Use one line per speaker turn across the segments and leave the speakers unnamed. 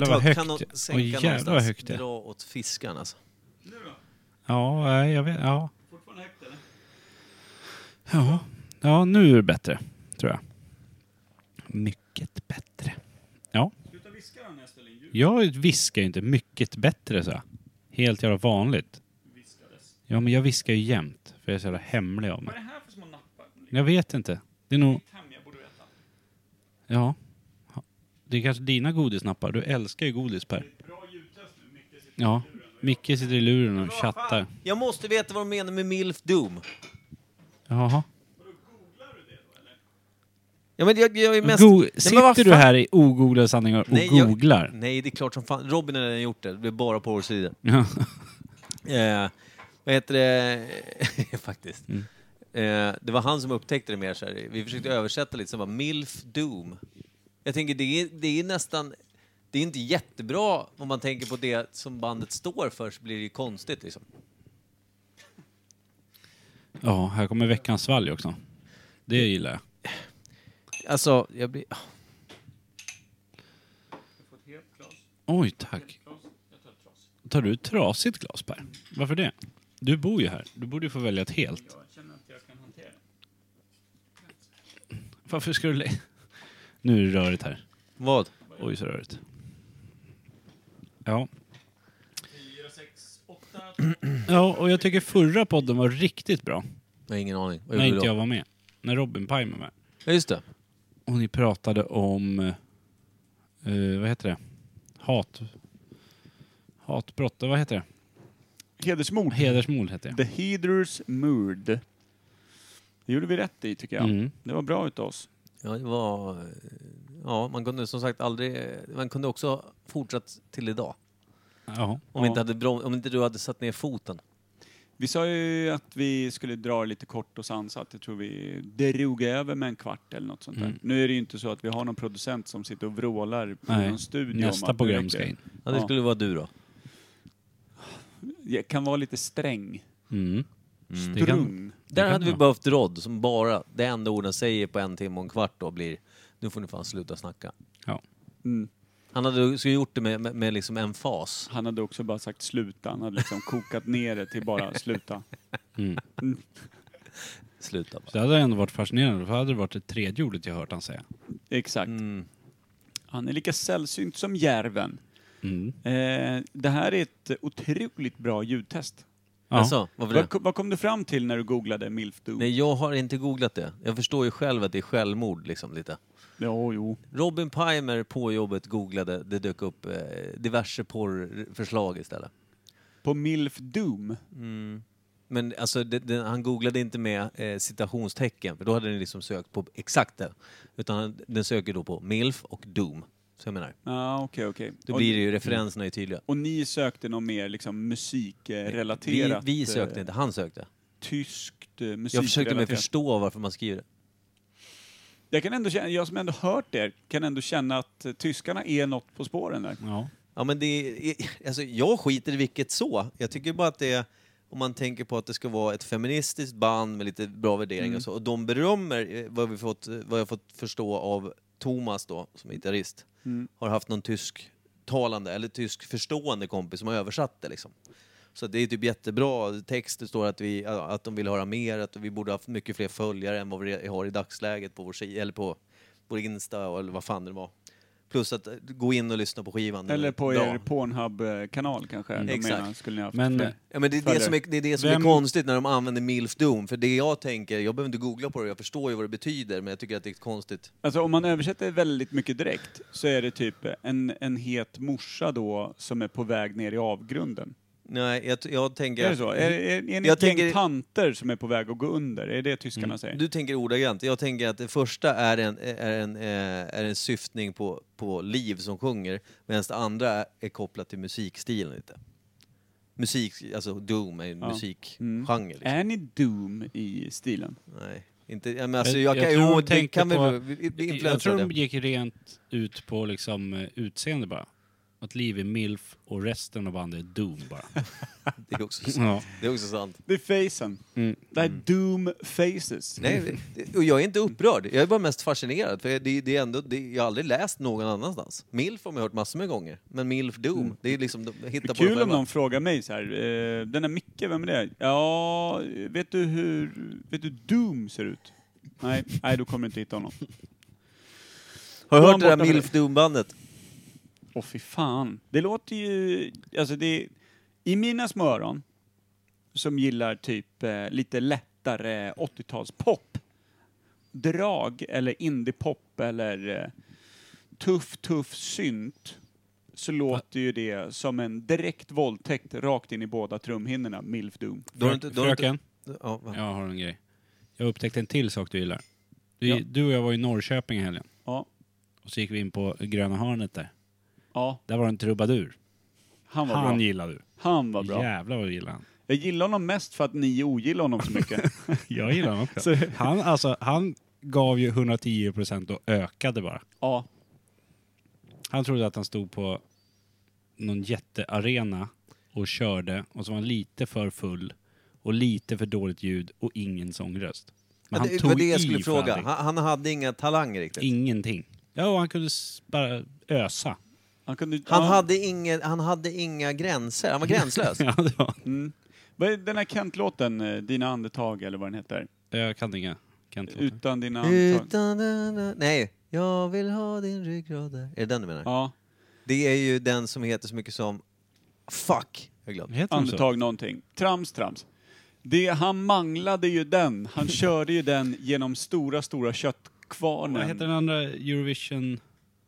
Jävlar vad
kan de
högt.
sänka
Oj, jävlar vad
någonstans?
högt det är.
Dra åt fiskarna alltså.
Ja, nej, jag vet. Ja. Ja. ja, nu är det bättre, tror jag. Mycket bättre. Ja. Jag viskar ju inte mycket bättre, så. Helt jävla vanligt. Ja, men jag viskar ju jämt, för jag är så jävla hemlig av mig.
Vad är det här för små nappar?
Jag vet inte. Det är nog...
Mitt hem, jag borde veta.
Ja. Ja. Det är kanske dina godisnappar. Du älskar ju godis, Per.
Bra ljudtest nu, Micke. sitter-
Ja. Micke sitter i luren och
Vad
chattar.
fan? Jag måste veta vad de menar med milf doom.
Jaha.
Ja, men jag, jag är mest...
Go-
Nej, men vad
sitter du
fan?
här i ogooglade sanningar och
Nej, jag-
googlar?
Nej, det är klart som fan. Robin har redan gjort det. Det är bara på vår sida.
Ja.
Eh, vad heter det? Faktiskt.
Mm.
Eh, det var han som upptäckte det mer. Så här. Vi försökte översätta lite, så var milf doom. Jag tänker, det är, det är nästan... Det är inte jättebra om man tänker på det som bandet står för, så blir det ju konstigt liksom.
Ja, här kommer veckans svalg också. Det gillar jag.
Alltså, jag blir...
Oj, tack. Tar du ett trasigt glas, Per? Varför det? Du bor ju här. Du borde ju få välja ett helt.
Jag känner att jag kan hantera det.
Varför ska du... lä- Nu är det rörigt här.
Vad?
Oj, så rörigt. Ja.
4, 6, 8,
Ja, och jag tycker förra podden var riktigt bra.
Jag har ingen aning. Vad
När
gjorde
inte
du
jag
då?
var med. När Robin Pajm var med.
Ja, just det.
Och ni pratade om... eh, vad heter det? Hat... Hatbrott. Vad heter det?
Hedersmord.
Hedersmord heter det.
The Heders Mord. Det gjorde vi rätt i tycker jag.
Mm.
Det var bra utav oss.
Ja, det var... Ja, man kunde som sagt aldrig... Man kunde också ha fortsatt till idag.
Ja.
Om,
Ja.
inte hade brom... om inte du hade satt ner foten.
Vi sa ju att vi skulle dra lite kort och sansat. Jag tror vi drog över med en kvart eller något sånt där.
Mm.
Nu är det ju inte så att vi har någon producent som sitter och vrålar på
Nej,
någon studio. om
Nästa
att det
program
räcker.
ska in.
Ja, det
Ja.
skulle vara du då.
Jag kan vara lite sträng.
Mm. Det kan,
Strung.
Där
kan
hade vi
vara.
behövt Rod som bara, det enda orden säger på en timme och en kvart då blir nu får ni fan sluta snacka.
ja.
Mm.
Han hade så gjort det med, med, med liksom en fas.
Han hade också bara sagt sluta. Han hade liksom kokat ner det till bara sluta.
Sluta bara.
Så det hade ändå varit fascinerande, för det hade varit det tredje ordet jag hört han säga.
Exakt.
Mm.
Mm.
Han är lika sällsynt som järven.
Mm.
Eh, det här är ett otroligt bra ljudtest.
Ja.
Alltså, varför det?
Vad, kom- vad kom du fram till när du googlade milf doom?
Nej, jag har inte googlat det. Jag förstår ju själv att det är självmord liksom lite.
Ja, jo.
Robin Pimer på jobbet googlade, det dök upp eh, diverse porrförslag istället.
På milf doom?
Men alltså, det, det, han googlade inte med eh, citationstecken, för då hade den liksom sökt på exakt det. Utan han- den söker då på MILF och DOOM. Så jag menar,
Ja, okej, okej.
då
Och-
blir det ju referenserna är tydliga.
Och ni sökte något mer liksom
Vi,
musikrelaterat?
vi sökte
eh,
inte, han sökte.
Tyskt eh,
Jag försökte mig
musikrelaterat?
förstå varför man skriver det.
Jag kan ändå känna, jag som ändå hört er, kan ändå känna att eh, tyskarna är något på spåren
Mm.
där.
Ja.
Ja, men det är, alltså, jag skiter i vilket så. Jag tycker bara att det är, om man tänker på att det ska vara ett feministiskt band med lite bra värderingar och så, och de berömmer, eh, vad, vi fått, vad jag fått förstå av Thomas då, som är gitarrist, har haft någon tysk talande eller tysk förstående kompis som har översatt det liksom. Så det är typ jättebra text, det står att, vi, att de vill höra mer, att vi borde ha haft mycket fler följare än vad vi har i dagsläget på vår, si- eller på vår Insta eller vad fan det var. Plus att eh, gå in och lyssna på skivan. Det
Eller
var
på
bra.
er Pornhub-kanal kanske? De
Mm. Exakt.
menar, skulle ni haft
Men,
fler.
Ja, men det, är det,
Följare.
som är, det är det som
Vem-
är konstigt när de använder milf doom. För det jag tänker, jag behöver inte googla på det, jag förstår ju vad det betyder, men jag tycker att det är konstigt.
Alltså om man översätter väldigt mycket direkt så är det typ en, en het morsa då som är på väg ner i avgrunden.
Nej, jag, jag tänker...
Är det så? Är, är, är ni ett gäng
Mm. Jag tänker- Mm.
tanter som är på väg att gå under? Är det tyskarna säger?
Du tänker ordagrant. Jag tänker att det första är en, är en, eh, är en syftning på, på Liv som sjunger, medan det andra är- är kopplat till musikstilen lite. Musik, alltså doom är ju en musikgenre. Liksom.
Är ni doom i stilen?
Nej, inte... Ja, men alltså,
Jag- jag
jag, kan,
tror de
jo, det
tänkte
kan vi
på-
vi- vi- vi
Jag tror
influensade.
de gick rent ut på liksom eh, utseende bara. att Liv är milf och resten av bandet är doom bara.
Det är också,
Ja.
det är också sant.
Det är facen. Det här är doom faces.
Mm. Nej, det- och jag är inte upprörd. Jag är bara mest fascinerad. För det, det är ändå, det, jag har aldrig läst någon annanstans. Milf har man hört massor med gånger. Men Milf Doom, det är liksom... De, hitta
Det är
på det
kul om
själva.
någon frågar mig så här. eh, Den där Micke, vem är det? Ja, vet du hur... Vet du Doom ser ut? Nej, nej då kommer du inte hitta honom.
Har du
Då är
hört det
han
där
borta för
Milf Doom-bandet?
Åh fy fan. Det låter ju... Alltså det... I mina små öron, som gillar typ eh, lite lättare 80-talspop, drag eller indiepop eller eh, tuff, tuff synt, så låter ju det som en direkt våldtäkt rakt in i båda trumhinnorna, Milf Doom.
Då har du inte- då har du inte-
Fröken,
Ja, va.
jag har en grej. Jag upptäckte en till sak du gillar. Du, du och jag var i Norrköping i helgen.
Ja.
Och så gick vi in på Gröna hörnet där.
Ja,
Där var det en trubadur.
han var
Han
bra.
gillar du.
Han var bra.
Jävlar vad du gillar han.
Jag gillar honom mest för att ni ogillar honom så mycket.
Jag gillar honom också.
Så-
Han, alltså, han gav ju 110 procent och ökade bara.
ja.
Han trodde att han stod på någon jättearena och körde och så var han lite för full och lite för dåligt ljud och ingen sångröst. Men
Ja,
han
det
tog
var det jag
i
skulle
för
fråga.
allting.
Han, han hade inga talanger riktigt.
Ingenting. Ja, och han kunde s- bara ösa.
Han, kunde,
han,
ja.
hade inga, han hade inga gränser. Han var gränslös.
Ja, det var.
Mm. Vad är den här Kent-låten, eh, Dina andetag eller vad den heter?
Jag kan inga. Kan inte låta.
Utan
Eh,
dina andetag.
Utan... na- na- Nej, jag vill ha din ryggrad där. Är det den du menar?
Ja,
Det är ju den som heter så mycket som... Fuck! Jag glömde.
Heter de så?
andetag någonting. Trams, trams. Det, han manglade ju den. Han körde ju den genom stora, stora
Vad heter
köttkvarnen.
den andra Eurovision?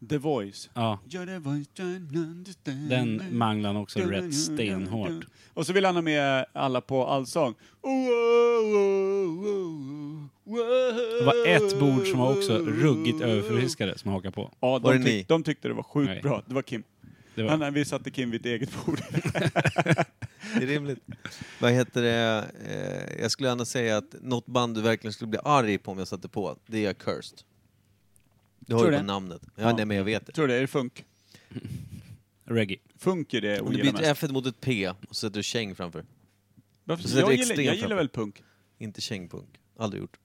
The Voice.
Ja,
You're the voice that understands.
den manglan också rätt stenhårt.
Och så vill han ha med alla på allsång. Oh,
Det
Det
var ett bord som var också ruggigt överförfriskade som hakade på.
Ja,
Var det
de,
ni?
tyck, de tyckte det var sjukt
Nej.
bra. Det var Kim.
Det var,
Han, vi satte Kim vid ett eget bord.
Det är rimligt. Vad heter det? Eh, Jag skulle gärna säga att något band du verkligen skulle bli arg på om jag satte på, det är Cursed. Du har
Tror
ju på
det?
namnet. Ja,
Ja.
Nej, men jag vet det.
Tror du det? Är det funk?
reggae.
Funk är det jag
Om du
ogillar
byter
mest.
F mot ett P och sätter du käng framför.
Varför,
så är det
jag, gillar, jag
extremt
gillar väl punk?
Inte kängpunk. Aldrig gjort.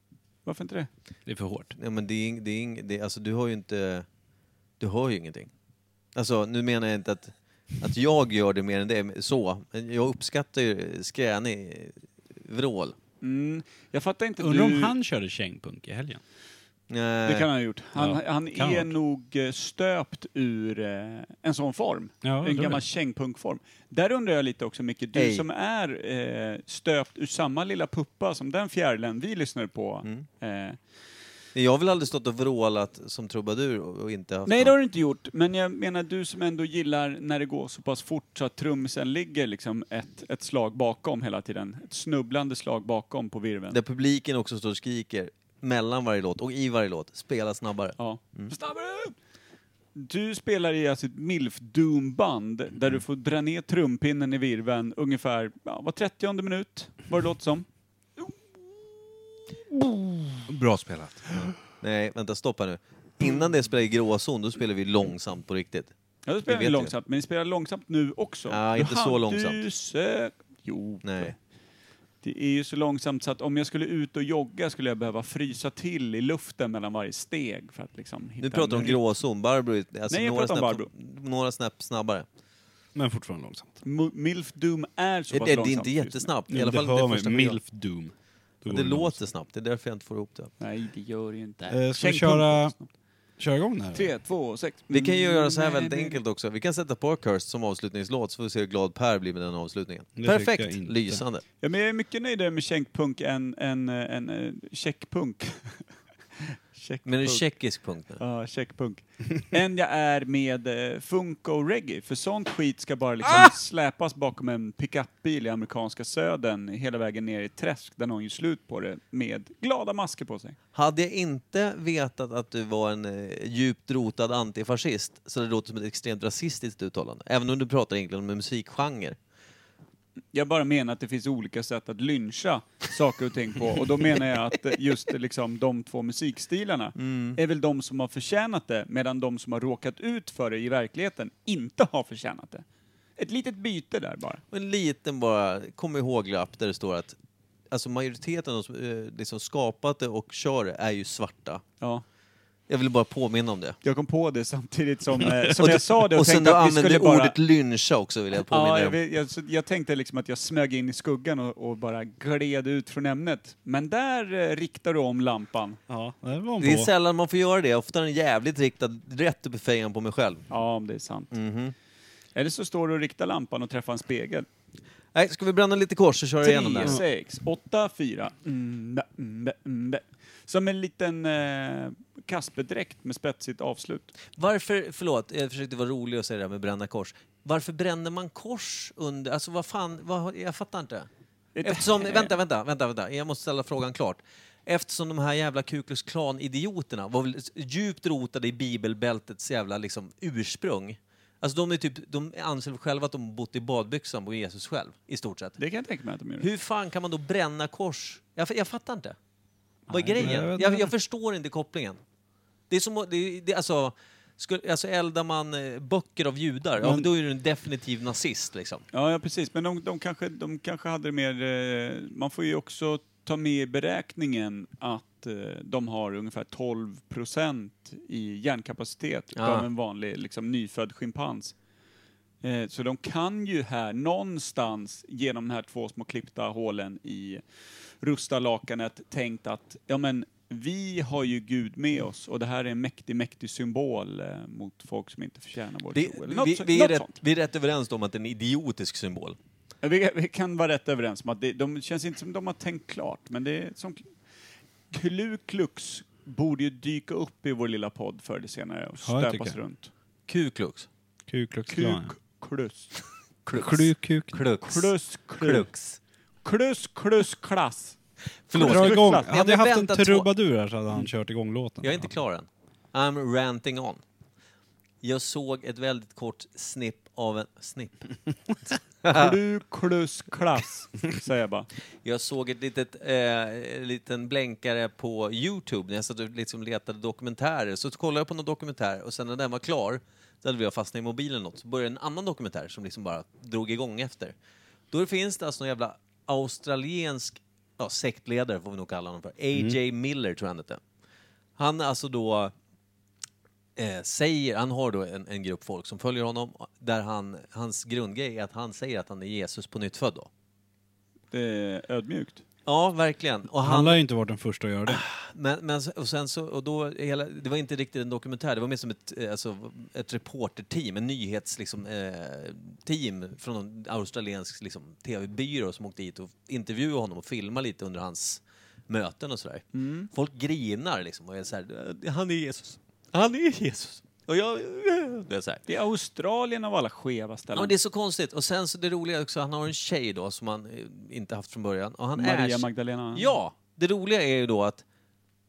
Varför inte det?
Det är för hårt.
Nej, men det är, ing- det är, ing- det, alltså, du har ju inte... Du har ju ingenting. Alltså, nu menar jag inte att, att jag gör det mer än det, så. Men jag uppskattar ju skränig vrål.
Mm, jag fattar inte.
Undrar
du,
om han körde kängpunk i helgen?
Nej.
Det kan han ha gjort. Han,
Ja,
han
kan ha
är
varit.
nog eh, stöpt ur eh, en sån form.
Ja, jag
en
tror
gammal
det.
kängpunkform. Där undrar jag lite också Micke, du
Ej.
som är eh, stöpt ur samma lilla puppa som den fjärilen vi lyssnar på.
Mm.
Eh,
Nej, Jag har väl aldrig stått och vrålat som trubadur och och inte haft
nej, det
någon-
har du inte gjort. Men jag menar du som ändå gillar när det går så pass fort så att trummisen ligger liksom ett, ett slag bakom hela tiden. Ett snubblande slag bakom på virveln.
Där publiken också står och skriker mellan varje låt och i varje låt. Spela snabbare.
Ja.
Mm.
Snabbare! Du spelar i alltså ett milf-doom-band där du får dra ner trumpinnen i virven ungefär ja, var 30 minut, vad det låter som.
Bra spelat.
Nej, vänta, stoppa nu. Innan det spelade i gråzon, då spelade vi långsamt på riktigt.
Ja, då
Det
spelar vi
vet jag.
långsamt, men ni spelar långsamt nu också.
Ja, inte så
hade
långsamt.
ju sö- Jo,
Nej.
det är ju så långsamt så att om jag skulle ut och jogga skulle jag behöva frysa till i luften mellan varje steg för att liksom hitta
Nu pratar du om
en-
gråzon. Barbro, är- alltså
Nej, jag
några,
pratar om
snäpp,
Barbro.
några snäpp snabbare.
Men fortfarande långsamt.
Mu- Milf Doom är så
Det, det,
pass
det är
långsamt
inte
just nu.
jättesnabbt. I
I
alla fall
det
inte första milf.
Milf Doom. Då
Det
går
låter snabbt, det är därför jag inte får ihop det.
Nej, det gör det ju inte.
Eh, ska vi
Känn
köra-
pumpen.
långsamt. Kör igång det här.
Tre, två, sex. Mm,
Vi kan ju göra så här väldigt enkelt också. Vi kan sätta på Cursed som avslutningslåt så får vi se hur glad Per blir med den avslutningen.
Det tycker jag
Perfekt!
inte.
Lysande.
Ja, men jag är mycket nöjdare med känkpunk än, än, eh, än eh, tjeckpunk. Tjeckpunk.
Men det är tjeckisk punkt nu.
Ja, tjeckpunk. än jag är med eh, funk och reggae. För sånt skit ska bara liksom släpas bakom en pickupbil i amerikanska södern hela vägen ner i ett träsk där någon gör slut på det med glada masker på sig.
Hade jag inte vetat att du var en eh, djupt rotad antifascist så hade det låtit som ett extremt rasistiskt uttalande. Även om du pratar egentligen om en musikgenre.
Jag bara menar att det finns olika sätt att lyncha saker och ting på. Och då menar jag att eh, just eh, liksom, de två musikstilarna är väl de som har förtjänat det, medan de som har råkat ut för det i verkligheten inte har förtjänat det. Ett litet byte där bara.
Och en liten bara, kom ihåg-lapp där det står att alltså majoriteten av de som eh, liksom skapat det och kör det är ju svarta.
Ja.
Jag vill bara påminna om det.
Jag kom på det samtidigt som, eh, som
och
jag sa det och,
och sen
tänkte
du
att vi skulle
använde
bara...
ordet lyncha också vill jag påminna
Ja,
dig
jag,
om.
vet, jag, så jag tänkte liksom att jag smög in i skuggan och, och bara gled ut från ämnet. Men där eh, riktar du om lampan.
Ja, det var en
Det är
på.
sällan man får göra det. Ofta är den jävligt riktad rätt upp i fejan på mig själv.
Ja, om det är sant.
Mm.
Eller så står du och riktar lampan och träffar en spegel.
Nej, ska vi bränna lite kors och köra igenom
3,
det?
6, 8, 4. Mm, bä, mm, bä, mm, bä. Som en liten eh, kasperdräkt med spetsigt avslut.
Varför, förlåt, jag försökte vara rolig och säga det här med bränna kors. Varför bränner man kors under, alltså vad fan, vad, jag fattar inte. Eftersom, vänta, vänta, vänta, vänta, jag måste ställa frågan klart. Eftersom de här jävla Ku Klux Klan-idioterna var väl djupt rotade i bibelbältets jävla liksom, ursprung. Alltså de, är typ, de anser väl själva att de bott i badbyxan på Jesus själv, i stort sett.
Det kan jag tänka mig att de gör.
Hur fan kan man då bränna kors? Jag, fa- jag fattar inte. Vad är
Nej, jag
grejen?
vet
Jag,
inte.
jag förstår inte kopplingen. Det är som att- det, det, alltså, skulle, alltså eldar man eh, böcker av judar, ja,
Men-
men då är du en definitiv nazist liksom.
Ja, ja precis. Men de, de, kanske, de kanske hade det mer... eh, Man får ju också ta med i beräkningen att eh, de har ungefär 12 procent i hjärnkapacitet
Ja.
av en vanlig liksom, nyfödd schimpans. Eh, Så de kan ju här någonstans genom de här två små klippta hålen i rustalakanet tänkt att ja men vi har ju Gud med oss och det här är en mäktig, mäktig symbol eh, mot folk som inte förtjänar vår
Det,
tro. Eller något
vi,
så-
vi, är
något
rätt,
sånt.
vi är rätt överens om att det är en idiotisk symbol.
Ja, Vi, vi kan vara rätt överens om att det, de känns inte som de har tänkt klart, men det är som... Klu Klux borde ju dyka upp i vår lilla podd förr eller senare och
Ja, jag
stöpas
tycker.
runt.
Kuklux.
Kukloksklan.
Kuk, klus.
Kluk, kuk.
Klux.
Klus, klus.
Klux.
Klus, klus, klass.
Dra
Klux.
igång.
Ja,
Hade
men
jag haft
vänta,
en
två-
trubadur här så hade han kört igång låten.
Jag är inte klar än. I'm ranting on. Jag såg ett väldigt kort snipp av en... Snipp?
Klu, klus, klass, säger jag bara.
Jag såg ett litet, eh, en liten blänkare på Youtube när jag satt och liksom letade dokumentärer. Så kollade jag på någon dokumentär och sen när den var klar så hade jag fastnat i mobilen något. Så började en annan dokumentär som liksom bara drog igång efter. Då finns det alltså någon jävla australiensk ja, sektledare, får vi nog kalla honom för. A.J. Miller tror jag han hette. Han är alltså då eh, säger, han har då en, en grupp folk som följer honom där han, hans grundgrej är att han säger att han är Jesus på nytt född då.
Det är ödmjukt.
Ja, verkligen. Och
Han
han,
lär ju inte varit den första att göra det.
men, men, s- och sen så, och då, hela, det var inte riktigt en dokumentär, det var mer som ett, eh, alltså, ett reporterteam, en nyhetsteam liksom, eh, team från en australiensk liksom, tv-byrå som åkte hit och intervjuade honom och filmade lite under hans möten och sådär. Folk grinar liksom och är såhär, han är Jesus. Han är Jesus. Och jag... eh, Det är så här.
Det är Australien av alla skeva
Ja, men
ställen.
det är så konstigt. Och sen så det roliga också, han har en tjej då som han eh, inte haft från början. Och han
Maria
är...
Magdalena.
Ja, det roliga är ju då att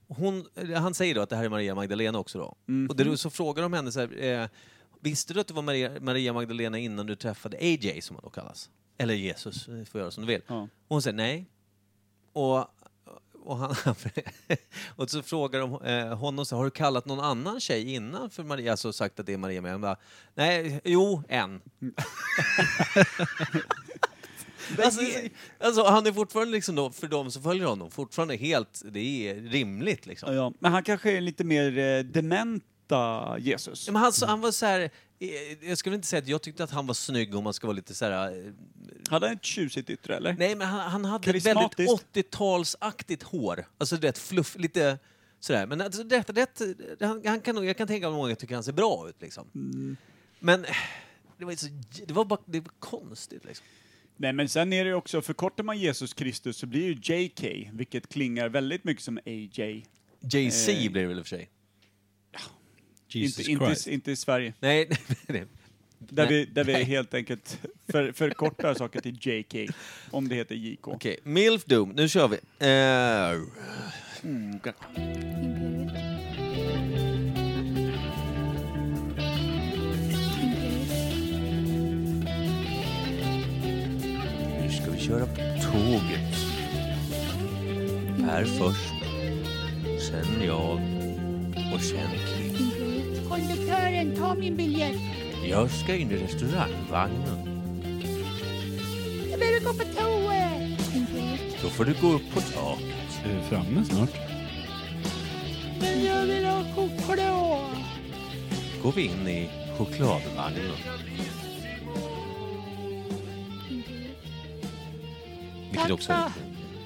hon, eller han säger då att det här är Maria Magdalena också då. Och det, så frågar de henne så här, eh, visste du att du var Maria, Maria Magdalena innan du träffade AJ som han då kallas? Eller Jesus, du får göra som du vill.
Ja.
Och hon säger nej. Och, och, han, och så frågar de eh, honom så här, har du kallat någon annan tjej innan för Maria, alltså sagt att det är Maria? Men han bara, nej, jo, en. Alltså, alltså, han är fortfarande liksom då, för de som följer honom, fortfarande helt, det är rimligt liksom.
Ja, ja. Men han kanske är lite mer eh, dementa Jesus.
Ja, Men han, så, han var så här, eh, jag skulle inte säga att jag tyckte att han var snygg om man ska vara lite så här. eh,
Hade han ett tjusigt yttre eller?
Nej men han, han hade ett väldigt
Karismatiskt.
80-talsaktigt hår. Alltså du vet, fluff, lite sådär. Men alltså, rätt, rätt, han, han kan, nog- jag kan tänka mig att många tycker han ser bra ut liksom. Men eh, det var, ju så, det var bara det var konstigt liksom.
Nej, men sen är det ju också, förkortar man Jesus Kristus så blir ju JK, vilket klingar väldigt mycket som AJ.
JC
Eh.
blir det väl i och för sig.
Jesus
inte, inte,
Christ.
i- inte i Sverige,
Nej, nej,
där,
Nej.
vi, där vi helt enkelt för, förkortar saker till JK, om det heter JK.
okej. Milf Doom, nu kör vi. Eh,
Imperiet. Imperiet.
köra på tåget. Per först, sen jag och sen Kim.
Konduktören, ta min biljett.
Jag ska in i restaurangvagnen.
Jag behöver gå på toa.
Då får du gå upp på taket.
Är du framme snart?
Men jag vill ha choklad.
Går vi in i chokladvagnen. Vilket också är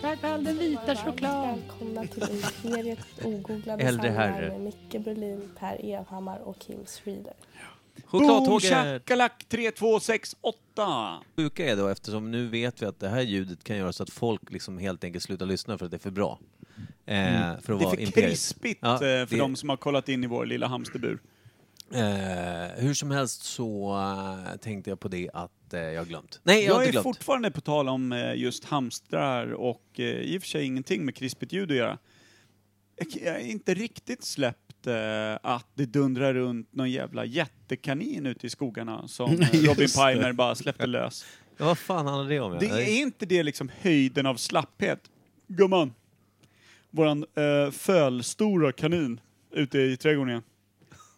Tack för all den vita
Varmt
chokladen.
välkomna till Imperiets ogooglade
Äldre herre.
sanningar med Micke Berlin, Per Evhammar och Kim Schreeder.
Boom
chokladtåget.
shakalak 3268!
sjuka är då, eftersom nu vet vi att det här ljudet kan göra så att folk liksom helt enkelt slutar lyssna för att det är för bra. Eh, för att
Mm. Det är
vara
för
imperiet.
krispigt
Ja,
eh, för
det-
de som har kollat in i vår lilla hamsterbur.
Eh, hur som helst så eh, tänkte jag på det att eh, jag har glömt. Nej, jag, har
Jag
inte
är
glömt.
fortfarande på tal om eh, just hamstrar och eh, i och för sig ingenting med krispigt ljud att göra. Jag k- Jag har inte riktigt släppt eh, att det dundrar runt någon jävla jättekanin ute i skogarna som eh,
Nej, just
Robin
det.
Pimer bara släppte lös.
Ja, Vad fan handlar det om? ja?
Det
Nej.
är inte det liksom höjden av slapphet. Gumman, våran eh, fölstora kanin ute i trädgården igen.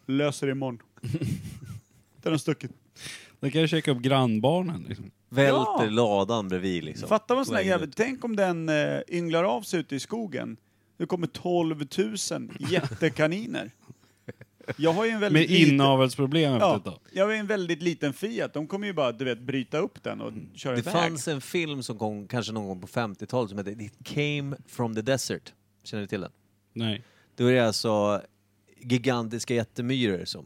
Löser det imorgon. Den har stuckit.
Då kan jag checka upp grannbarnen. Liksom.
Välter
Ja.
ladan bredvid liksom.
Fattar man sån här
Poängen.
jävla... Tänk om den eh, ynglar av sig ute i skogen. Det kommer 12 000 jättekaniner. Jag har ju en
Med
väldigt
inavelsproblem efter
Ja,
ett tag.
jag har ju en väldigt liten Fiat. De kommer ju bara, du vet, bryta upp den och köra
Mm. Det
iväg.
fanns en film som kom kanske någon gång på 50-talet som hette It came from the desert. Känner du till den?
Nej.
Då är det alltså gigantiska jättemyror som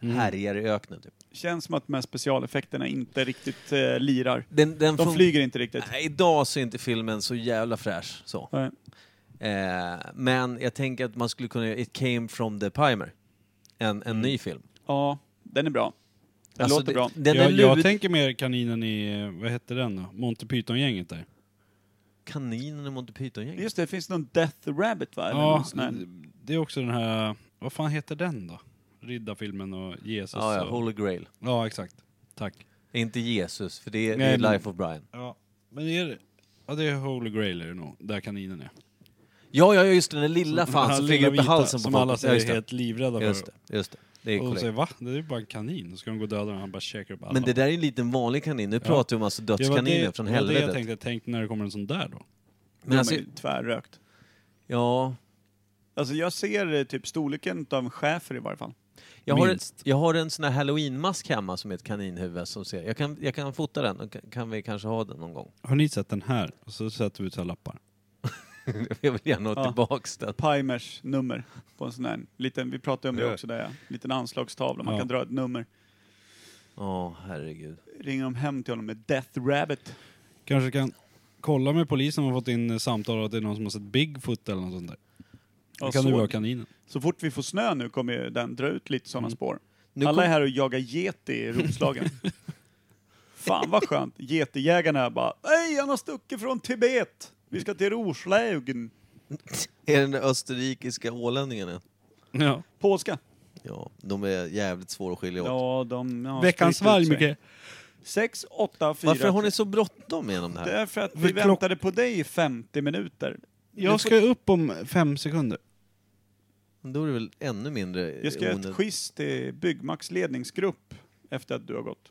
härjar i öknen. Typ.
Känns som att de här specialeffekterna inte riktigt eh, lirar.
Den, den
De
fun-
flyger inte riktigt.
Nej, idag så är inte filmen så jävla fräsch så.
Nej.
Eh, men jag tänker att man skulle kunna göra It came from the Pimer. En, en ny film.
Ja, den är bra. Den
Alltså,
låter
det-
bra.
Den är
jag, jag
lud-
tänker mer kaninen i, eh, vad hette den då? Monty Python-gänget där.
Kaninen i Monty Python-gänget.
Just det, det finns någon Death Rabbit va? Eller
Ja,
någon sån här.
det är också den här, vad fan heter den då? Riddarfilmen och Jesus.
Ja, ja,
alltså.
och-
Holy Grail.
ja exakt. Tack.
Inte Jesus, för det är,
Nej,
det är
men-
Life of Brian.
Ja, men det är, ja, det är Holy Grail är det nog, där kaninen är.
Ja, ja, ja, just det, den lilla fan som flyger upp i
vita,
halsen på
Som
folk.
alla
Ja, just
säger är
det.
helt livrädda
Just
för.
det, just det. Det är
Och de
korrekt.
säger va? Det är ju bara en kanin. Då ska de gå och döda den och han bara käkar upp alla.
Men det där är en liten vanlig kanin. Nu pratar vi om alltså
Det var
dödskaniner
det,
från
det var Det jag
helvetet.
tänkte, tänk när det kommer en sån där då.
men alltså,
De är ju tvärrökt.
ja,
Alltså jag ser eh, typ storleken av en schäfer i varje fall.
jag har, ett,
Minst.
jag har en sån här halloween-mask hemma som är ett kaninhuvud som ser... Jag kan, jag kan fota den, och kan, kan vi kanske ha den någon gång?
Har ni sett den här? Och så sätter vi ut så här lappar.
jag vill gärna ha
Ja.
tillbaks den.
Pimers nummer på en sån här liten, vi pratade om det
Ja.
också där ja. Liten anslagstavla, man
Ja.
kan dra ett nummer.
Ja, herregud.
Ringer de hem till honom med Death Rabbit.
Kanske kan kolla med polisen om man fått in eh, samtal att det är någon som har sett Bigfoot eller något sånt där.
Ja,
Då kan det
så-
vara kaninen.
Så fort vi får snö nu kommer ju den dra ut lite sådana spår.
Mm. Nu
Alla
kom-
är här och jagar get i Roslagen. Fan vad skönt. Getejägarna bara, hej han har stuckit från Tibet! Vi ska till Roslagen.
Är den där österrikiska ålänningen?
Ja.
Påska.
Ja, de är jävligt svåra att skilja åt.
Ja, de har
Veckans
spritt ut
valg,
sig.
Micke.
6, 8, 4...
Varför har ni så bråttom genom det här?
Därför att vi
För klock-
väntade på dig i 50 minuter.
Jag ska upp om fem sekunder.
Då är det väl ännu mindre
Jag ska göra ett
onödigt.
quiz till Byggmax ledningsgrupp efter att du har gått.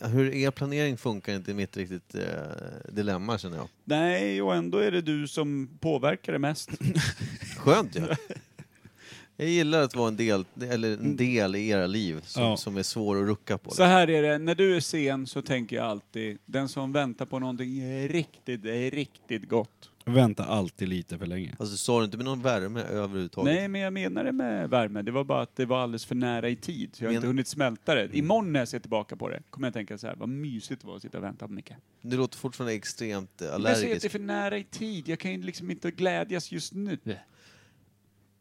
Ja, Hur er planering funkar inte i mitt riktigt eh, dilemma känner jag.
Nej, och ändå är det du som påverkar det mest.
Skönt ju! Jag gillar att vara en del, eller en del i era liv som,
Ja.
som är svår att rucka på.
Mm. Så här är det, när du är sen så tänker jag alltid, den som väntar på någonting riktigt, riktigt gott.
Vänta alltid lite för länge.
Alltså sa du inte med någon värme överhuvudtaget?
Nej, men jag menar det med värme. Det var bara att det var alldeles för nära i tid, så jag har
Men-
inte hunnit smälta det. Imorgon när jag ser tillbaka på det kommer jag tänka så här, vad mysigt det var att sitta och vänta på Micke.
Du låter fortfarande extremt eh,
Men Jag ser att det är
allergisk.
för nära i tid, jag kan ju liksom inte glädjas just nu.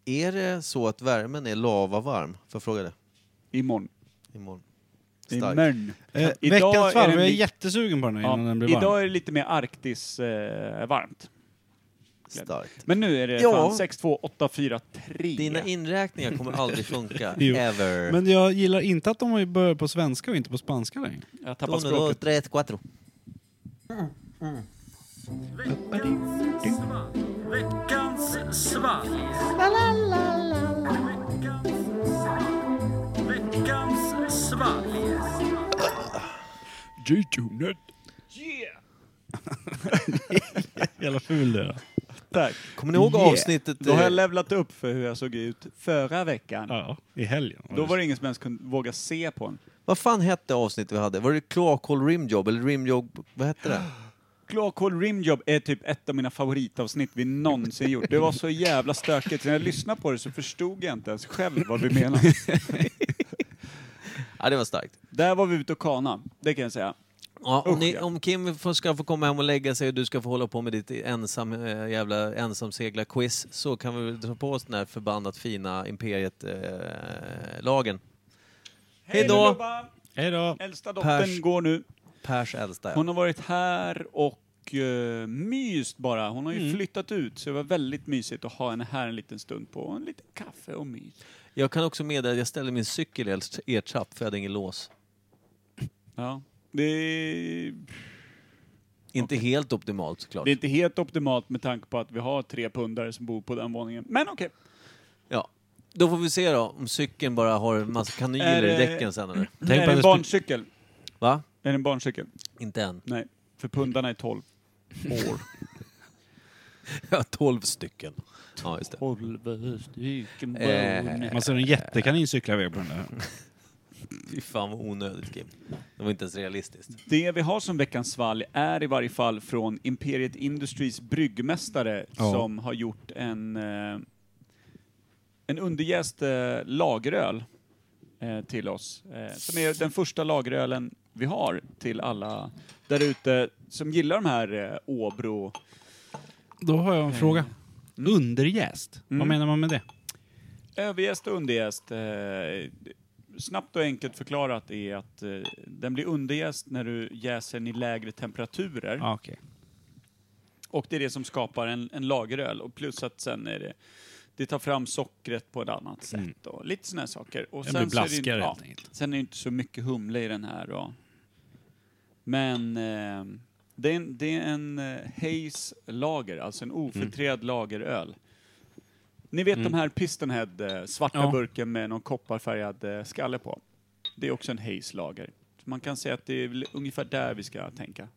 Är det så att värmen är lavavarm? Får jag fråga det?
Imorgon.
Imorgon. Starkt.
Imorgon.
Eh,
Idag
veckans
är
varv,
den
jag är
li-
jättesugen på den här
Ja,
innan den blir varm.
idag är det lite mer Arktis eh, varmt.
Starkt.
Men nu är det
Ja.
fan 6, 2, 8, 4, 3.
Dina inräkningar kommer aldrig funka.
Jo.
Ever.
Men jag gillar inte att de har ju börjat på svenska och inte på spanska längre.
jag tappar
Uno, dos,
språket.
tres, cuatro.
J-tunet. Yeah! Jävla ful du är.
Tack.
Kommer ni ihåg
Yeah.
avsnittet?
Då har
eh,
jag levlat upp för hur jag såg ut förra veckan.
Ja, i helgen.
Då var det ingen som ens kunde våga se på en.
Vad fan hette avsnittet vi hade? Var det Kloakhål Rimjob eller Rimjob... Vad hette det?
Glakol Rimjob är typ ett av mina favoritavsnitt vi någonsin gjort. Det var så jävla stökigt. När jag lyssnade på det så förstod jag inte ens själv vad vi menade.
Ja, det var starkt.
Där var vi ute och kana, det kan jag säga.
Ja, om,
Usch,
ni,
ja.
om Kim får- ska få komma hem och lägga sig och du ska få hålla på med ditt ensam, eh, jävla ensamsegla-quiz så kan vi väl dra på oss den här förbannat fina eh, Imperiet-lagen. Hej då!
Lubba!
Hej då!
Äldsta dottern
Pers.
går nu.
Pers äldsta.
Hon har varit här och uh, myst bara. Hon har ju
Mm.
flyttat ut så det var väldigt mysigt att ha henne här en liten stund på en liten kaffe och mys.
Jag kan också meddela att jag ställde min cykel i er trapp för jag hade ingen lås.
Ja. Det är,
Inte helt optimalt såklart.
det är inte helt optimalt med tanke på att vi har tre pundare som bor på den våningen. Men okej.
Ja. Då får vi se då om cykeln bara har en massa
Är
kanyler i
det-
däcken sen eller?
Är
Tänk på
det
att
en
det skulle-
barncykel?
Va?
Är det en barncykel?
Inte än.
Nej, för pundarna är 12 år.
Ja, 12 stycken. Ja, just det.
12 stycken
Eh.
Man ser en jättekanin cykla iväg på den där.
Fy fan vad onödigt Kim. Det var inte ens realistiskt.
Det vi har som veckans svalg är i varje fall från Imperiet Industries bryggmästare
Ja.
som har gjort en, eh, en underjäst eh, lageröl eh, till oss. Eh, som är den första lagerölen vi har till alla där ute som gillar de här eh, Åbro...
Då har jag en fråga. Eh, Underjäst? Mm. Vad menar man med det?
Överjäst och underjäst. Eh, snabbt och enkelt förklarat är att eh, den blir underjäst när du jäser den i lägre temperaturer.
Ah, Okej.
Och det är det som skapar en, en lageröl. Och plus att sen är det, det tar fram sockret på ett annat sätt och lite sådana saker. Och
Den blir
så är det ju-
blaskigare
ja,
helt enkelt.
Sen är det inte så mycket humle i den här. Och, men eh, det, är en, det är en eh, Hayes lager, alltså en ofiltrerad lageröl. Ni vet de här Pistonhead, eh, svarta
Ja.
burken med någon kopparfärgad eh, skalle på. Det är också en Hayes lager. Så Man kan säga att det är väl ungefär där vi ska tänka.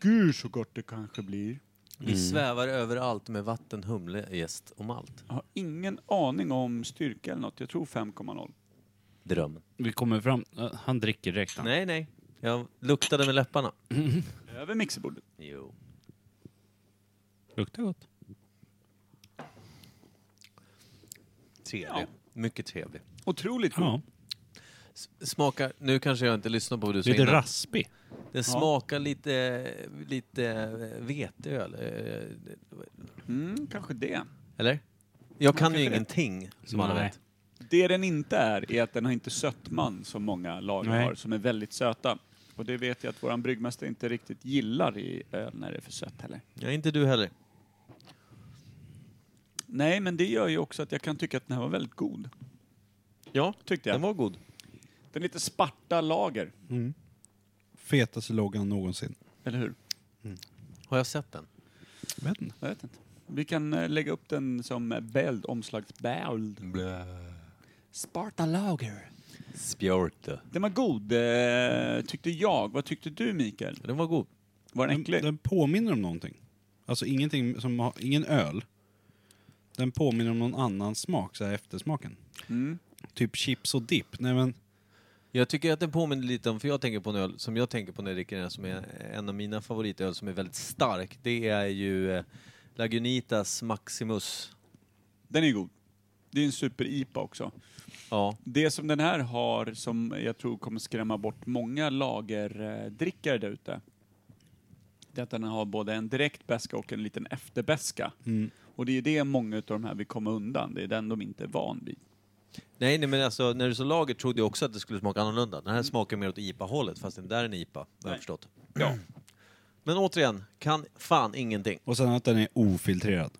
Gud så gott det kanske blir.
Mm.
Vi svävar överallt med vatten, humle, jäst och malt.
Jag har ingen aning om styrka eller något. Jag tror 5,0.
Drömmen.
Vi kommer fram... eh, Han dricker direkt. Han.
Nej, nej. Jag luktade med läpparna.
Över mixerbordet.
Jo.
Luktar gott.
Trevlig. Mycket trevlig.
Otroligt god.
Ja.
S- Smakar... Nu kanske jag inte lyssnar på vad du sa
Lite
innan.
raspig.
Den smakar lite, lite veteöl. eh,
Mm, kanske det.
Eller? Jag kan ju
kanske det.
ingenting, som alla
Nej.
vet.
Det den inte är, är att den har inte sötman som många lager
Nej.
har, som är väldigt söta. Och det vet jag att våran bryggmästare inte riktigt gillar i öl när det är för sött heller.
Ja, inte du heller.
Nej, men det gör ju också att jag kan tycka att den här var väldigt god.
Ja,
Tyckte jag.
den var god.
Den är lite Sparta lager,
Fetaste loggan någonsin.
eller hur?
Har jag sett den?
Vet inte.
Jag vet inte. Vi kan eh, lägga upp den som eh, bäld, omslagsbäld. Sparta lager.
Spjorte.
Den var god, eh, tyckte jag. Vad tyckte du, Mikael?
Den var god.
Var den
Den,
äcklig?
den påminner om någonting. Alltså ingenting som har, ingen öl. Den påminner om någon annan smak, så här eftersmaken.
Mm.
Typ chips och dipp. Nej men,
Jag tycker att den påminner lite om, för jag tänker på en öl som jag tänker på när jag dricker den här, som är en av mina favoritöl som är väldigt stark. Det är ju eh, Lagunitas Maximus.
Den är god. Det är en super-IPA också.
Ja,
Det som den här har, som jag tror kommer skrämma bort många lagerdrickare där ute, det är att den har både en direkt beska och en liten efterbäska. Och det är det många av de här vill komma undan. Det är den de inte är van vid.
Nej, nej men alltså när du sa lager trodde jag också att det skulle smaka annorlunda. Den här
Mm.
smakar mer åt IPA-hållet fast den där är en IPA, har jag förstått.
Ja.
Men återigen, kan fan ingenting.
och sen att den är ofiltrerad.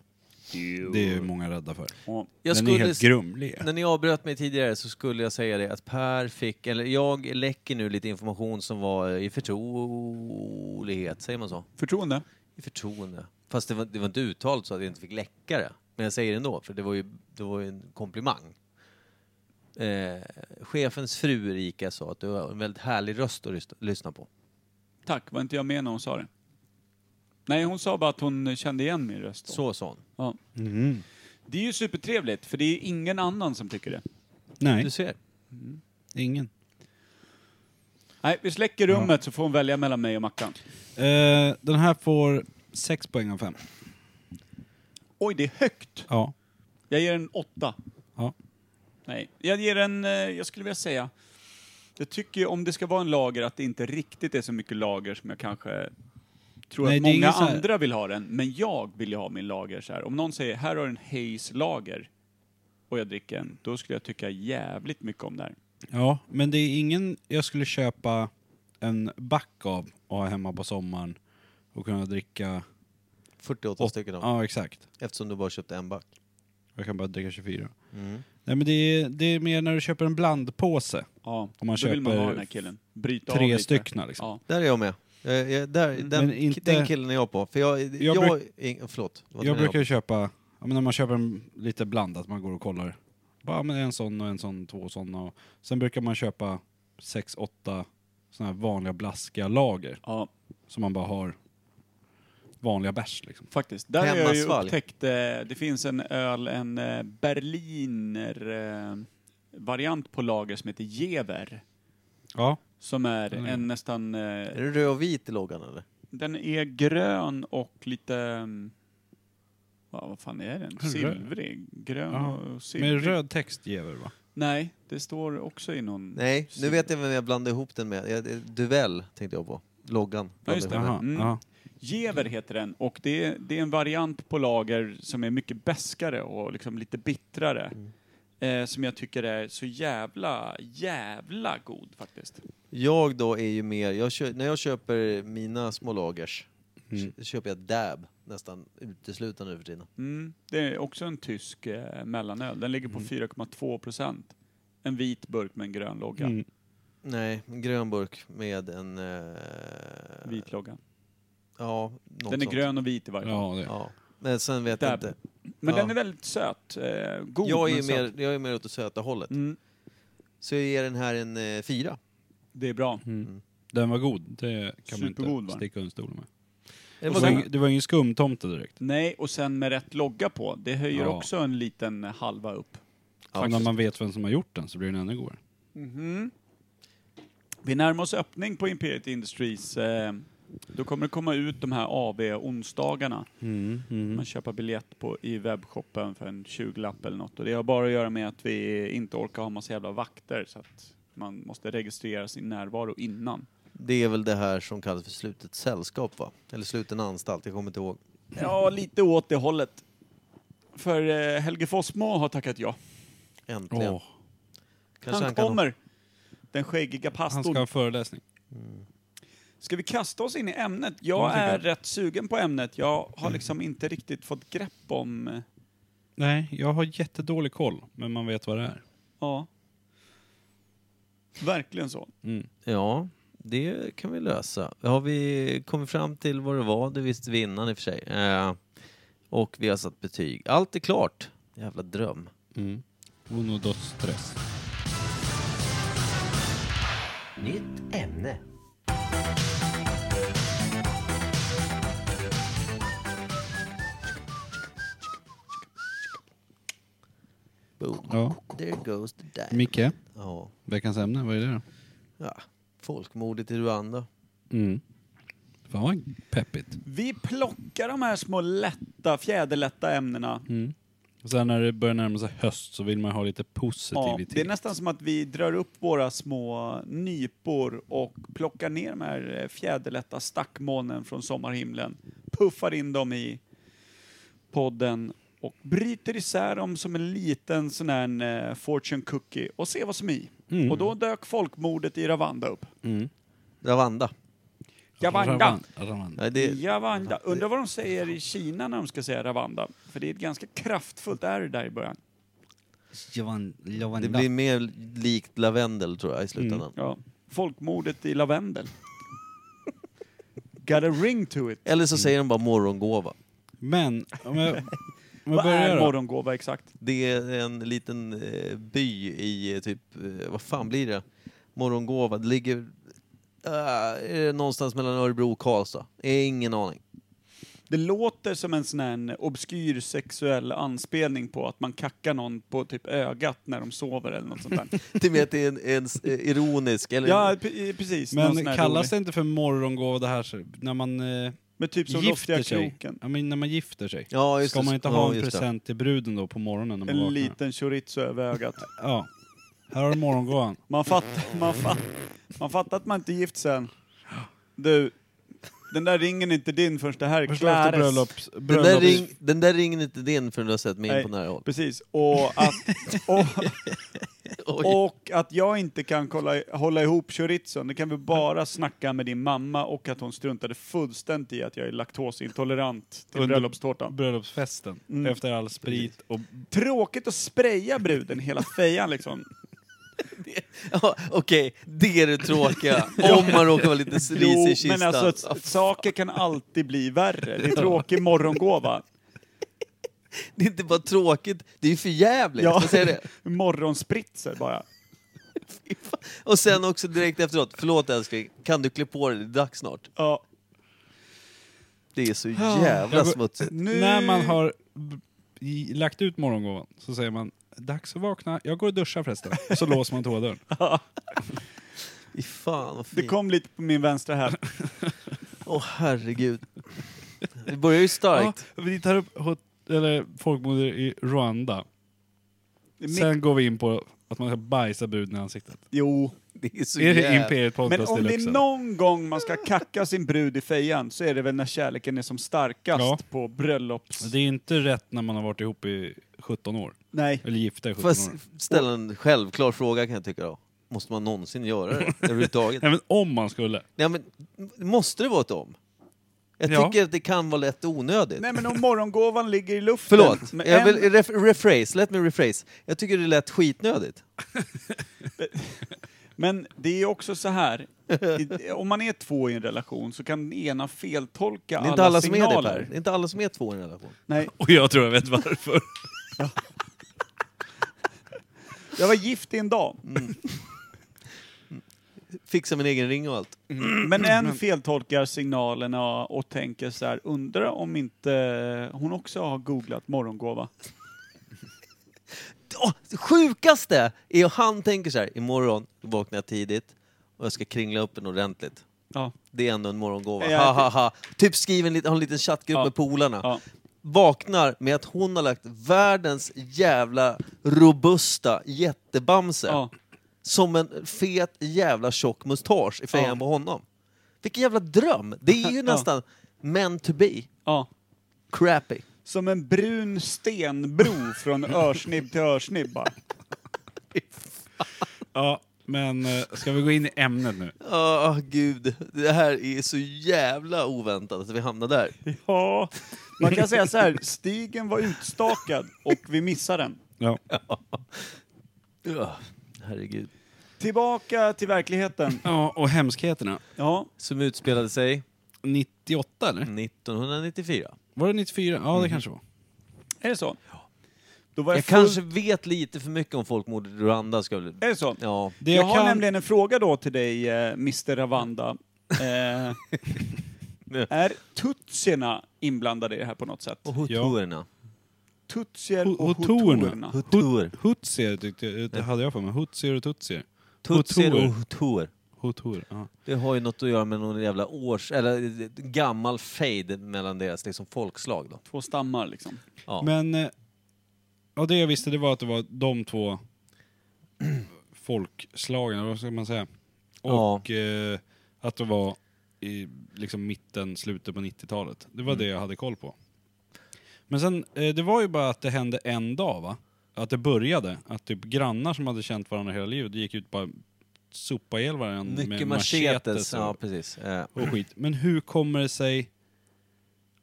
Det är ju många rädda för.
Och,
den
Jag skulle
är helt
s-
grumlig.
När ni avbröt mig tidigare så skulle jag säga det att Per fick, eller jag läcker nu lite information som var i förtrolighet, säger man så?
förtroende?
I förtroende. Fast det var, det var inte uttalat så att jag inte fick läcka det. Men jag säger det ändå, för det var ju, det var ju en komplimang. Eh, chefens fru Erika sa att du har en väldigt härlig röst att lyssna- lyssna på.
Tack, var inte jag med när hon sa det? Nej, hon sa bara att hon kände igen min röst. då.
Så sa hon.
Ja.
Mhm.
Det är ju supertrevligt, för det är ingen annan som tycker det.
Nej,
Du ser.
ingen.
Nej, vi släcker rummet så får hon välja mellan mig och Mackan.
Eh, den här får 6 poäng av 5.
Oj, det är högt!
Ja.
Jag ger en åtta.
Ja.
Nej, jag ger en, eh, jag skulle vilja säga, jag tycker ju om det ska vara en lager att det inte riktigt är så mycket lager som jag kanske tror
Nej,
att
det är
många
ingen så här-
andra vill ha den, men jag vill ju ha min lager så här. Om någon säger, här har du en Hayes lager, och jag dricker en, då skulle jag tycka jävligt mycket om det här.
ja, men det är ingen jag skulle köpa en back av och ha hemma på sommaren och kunna dricka...
48 stycken av.
Ja, exakt.
Eftersom du bara köpte en back.
Jag kan bara dricka 24.
Mm.
Nej men det är, det är mer när du köper en blandpåse.
Ja,
Om man
då vill man
köper
ha den här killen. Bryta av
Tre
lite.
stycken liksom.
Ja.
Där är jag med. Jag, jag, där, den,
Mm, Men inte-
den killen är jag på. För jag... jag,
Jag bruk-
ing- förlåt. Vad
Jag
menar
brukar ju köpa, ja, men när man köper en, lite blandat, man går och kollar. Bara ja, men en sån och en sån, två såna. Och, sen brukar man köpa sex, åtta såna här vanliga blaskiga lager.
ja,
Som man bara har vanliga bärs liksom.
Faktiskt. Där har jag ju
Hemmasvalg.
upptäckt, eh, det finns en öl, en eh, berliner eh, variant på lager som heter Jever.
Ja.
Som är
Mm.
en nästan,
Är
eh,
det röd och vit i loggan eller?
den är grön och lite, mm, ja, vad fan är den?
Röd.
Silvrig? Grön
Ja.
och silvrig?
Med röd text Jever va?
Nej, det står också i någon...
Nej, nu
Silver.
vet jag vem jag blandade ihop den med. Jag, Duell tänkte jag på. Loggan.
Ja, just det.
Blandade ihop
Jaha,
Mm.
ja.
Jever heter den och det är, det är en variant på lager som är mycket beskare och liksom lite bittrare. Eh, som jag tycker är så jävla, jävla god faktiskt.
den. Jag då är ju mer, jag kö, när jag köper mina små lagers
Mm.
kö- köper jag dab nästan uteslutande nu för tiden.
Mm. Det är också en tysk eh, mellanöl. Den ligger på
Mm.
4,2 procent. En vit burk med en grön logga.
Mm.
Nej, en grön burk med en... Eh,
Vit logga.
Ja, något
Den är
sånt.
grön och vit i varje fall.
Ja, det.
Ja. Men sen vet
Dab.
jag inte.
Men
Ja.
den är väldigt söt. Eh, god
Jag är,
men
ju
söt.
mer, jag är mer åt det söta hållet.
Mm.
Så jag ger den här en eh, fyra.
Det är bra.
Mm. Den var god, det kan man
Supergod, va?
inte sticka under stolen med.
Det
Det
var
var,
den.
ing- det var ingen skumtomte direkt.
Nej, och sen med rätt logga på. Det höjer
Ja.
också en liten halva upp.
Och när man vet vem som har gjort den så blir den ännu godare.
Mhm.
Vi närmar oss öppning på Imperiet Industries. Eh, då kommer det komma ut de här AV-onsdagarna.
Mm.
Man köper biljett på, i webbshoppen för en 20-lapp eller något. Och det har bara att göra med att vi inte orkar ha massa jävla vakter så att man måste registrera sin närvaro innan.
Det är väl det här som kallas för slutet sällskap va? Eller sluten anstalt, jag kommer inte ihåg.
Ja, lite åt det hållet. För eh, Helge Fossmo har tackat ja.
Äntligen.
Åh,
Kanske
han
kan-
kommer! Den skäggiga
han ska ha
pastorn.
en föreläsning.
Ska vi kasta oss in i ämnet?
Ja,
Jag
tycker
är
jag.
rätt sugen på ämnet. Jag har liksom inte riktigt fått grepp om... eh,
Nej, jag har jättedålig koll, men man vet vad det är.
Ja. Verkligen så.
Ja, det kan vi lösa. Har vi kommit fram till vad det var? Det visste vi innan i och för sig. Eh, och vi har satt betyg. Allt är klart. Jävla dröm.
Mm. Uno, dos, stress.
Nytt ämne. Boom.
Ja.
There goes the dam.
Micke,
Ja.
veckans ämne, vad är det då?
ja. Folkmordet i Rwanda.
Mm. Fan vad peppigt.
Vi plockar de här små lätta, fjäderlätta ämnena.
Och sen när det börjar närma sig höst så vill man ha lite
Ja,
positivitet.
det är nästan som att vi drar upp våra små nypor och plockar ner de här eh, fjäderlätta stackmånen från sommarhimlen. Puffar in dem i podden och bryter isär dem som en liten sån här eh, fortune cookie och ser vad som är i. Och då dök folkmordet i Ravanda upp.
mm.
Ravanda.
Javanda.
Ravan-
Nej, det,
Javanda. Undrar vad de säger i Kina när de ska säga Ravanda. För det är ett ganska kraftfullt R där i början.
Javan- Javanda.
det blir mer likt lavendel tror jag i slutändan.
Ja. Folkmordet i lavendel. Got a ring to it.
Eller så säger de bara morgongåva.
Men om jag, om jag
Vad är
börjar då.
morgongåva exakt?
Det är en liten eh, by i eh, typ, eh, vad fan blir det? Morgongåva. Det ligger eh, är det någonstans mellan Örebro och Karlstad. Jag har ingen aning.
Det låter som en sån här obskyr sexuell anspelning på att man kackar någon på typ ögat när de sover eller något sånt där.
Det är mer att det är en, en s- eh, ironisk, eller
ja, p- eh, precis. någon sån
Men
här
kallas
rolig.
det inte för morgongåva det här? så- När man, eh,
Men typ som
gifter
loftiga
sig?
kroken.
Ja, men när man gifter sig?
Ja, just
Ska
det.
man inte
Ja,
ha en
just det.
present till bruden då på morgonen när man
En
vaknar?
liten chorizo över ögat.
Ja. Här har du morgongåvan.
Man fattar, man, fatt, man fattar att man inte är gift sen. Du, den där ringen är inte din förrän det här är
Förstår efter
klares.
bröllops...
Den där,
bröllops
ring, den där ringen är inte din förrän du har sett mig in på
Nej.
nära håll.
Precis, och att,
Oj.
och, och att jag inte kan kolla, hålla ihop chorizon, det kan vi bara snacka med din mamma och att hon struntade fullständigt i att jag är laktosintolerant till
Under-
bröllopstårtan.
bröllopsfesten.
Mm.
Efter all sprit och...
Tråkigt att spraya bruden hela fejan liksom.
Ja, Okej, det är det tråkiga. Om man råkar vara lite risig i
Jo,
kistan.
men alltså s- saker kan alltid bli värre. Det är tråkig morgongåva.
Det är inte bara tråkigt, det är ju för jävligt.
Ja.
Jag säger det.
Morgonspritzer bara.
Och sen också direkt efteråt, förlåt älskling, kan du klä på dig, det är dags snart.
Ja.
Det är så jävla
Jag går-
smutsigt.
Nu...
När man har b- i- lagt ut morgongåvan så säger man Dags att vakna, jag går och duschar förresten. Och så låser man toadörren.
Fy fan vad
Det
fint. Åh
kom lite på min vänstra här.
herregud. Det börjar ju
Ja,
starkt.
vi tar upp hot- eller folkmordet i Rwanda. Sen går vi in på att man ska bajsa bruden i ansiktet.
Jo.
Det är så
är det
jävla...
Imperiet
Men
Podcast
om det
Deluxe?
är någon gång man ska kacka sin brud i fejan så är det väl när kärleken är som starkast
Ja.
på bröllops...
Det är inte rätt när man har varit ihop i 17 år.
Nej.
Eller gifta i 17
Fast
år.
ställa en självklar fråga kan jag tycka då. Måste man någonsin göra det överhuvudtaget?
Även om man skulle.
Nej, men, måste det vara ett om? Jag
Ja.
tycker att det kan vara lätt onödigt.
Nej men om morgongåvan ligger i luften.
Förlåt,
Men
jag
en-
vill ref, rephrase, let me rephrase. Jag tycker det lät skitnödigt.
Men det är också så här, i- om man är två i en relation så kan den ena feltolka
Det är
alla,
inte alla som är det
signaler.
Per. Det är inte alla som är två i en relation.
Nej,
Och jag tror jag vet varför.
jag var gift i en dag.
Fixa min egen ring och allt.
Men en feltolkar signalerna och tänker så här, undrar om inte hon också har googlat morgongåva.
Åh, det sjukaste är att han tänker så här, imorgon vaknar jag tidigt och jag ska kringla upp den ordentligt.
Ja.
Det är ändå en morgongåva.
Ja,
Ha, ha, ha. Typ skriv en, lit- ha en liten chattgrupp
Ja.
med polarna.
Ja.
Vaknar med att hon har lagt världens jävla robusta jättebamse
Ja.
som en fet jävla tjock mustasch i fejan
Ja.
på honom. Vilken jävla dröm! Det är ju nästan meant to be.
ja.
Crappy.
Som en brun stenbro från örsnibb till örsnibb bara.
Ja, men eh, ska vi gå in i ämnet nu?
Åh gud, det här är så jävla oväntat att vi hamnar där.
Ja. Man kan säga så här, stigen var utstakad och vi missade den.
Ja.
Ugh, herregud.
Tillbaka till verkligheten.
ja, och hemskheterna.
Ja,
Som utspelade sig
98 eller?
1994.
Var det 94? Ja, det kanske var.
är det så? Då var
Jag,
jag, full...
kanske vet lite för mycket om folkmordet i Rwanda. Ska jag...
Är
väl-
det så?
Ja.
Det
jag
jag,
har
kan...
nämligen en fråga då till dig, eh, Mr. Ravanda. Eh, är tutsierna inblandade i det här på något sätt?
Och hutuerna.
Tutsier
Ho-
och
hotorerna.
hotorerna.
Hutuer.
Hutsier tyckte jag, det hade jag för mig. Hutsier och tutsier.
Tutsier
Hutuer.
och hutuer.
Hotor, ja.
Det har ju något att göra med någon jävla års... Eller eh, gammal fejd mellan deras liksom, folkslag då.
Två stammar liksom.
Ja.
Men, eh, ja det jag visste det var att det var de två folkslagen, eller vad ska man säga?
Ja.
Och eh, att det var i liksom mitten, slutet på 90-talet. Det var
Mm.
det jag hade koll på. Men sen, eh, det var ju bara att det hände en dag va? Att det började, att typ grannar som hade känt varandra hela livet gick ut bara sopa ihjäl varandra med
Mycket
machetes
machetes.
och,
Ja, precis. Eh,
och skit. Men hur kommer det sig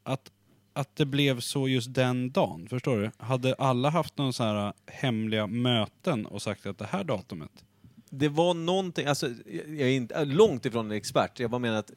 att, att det blev så just den dagen? Förstår du? Hade alla haft någon så här äh, hemliga möten och sagt att det här datumet?
Det var någonting, alltså, jag jag är inte, långt ifrån en expert, jag bara menar att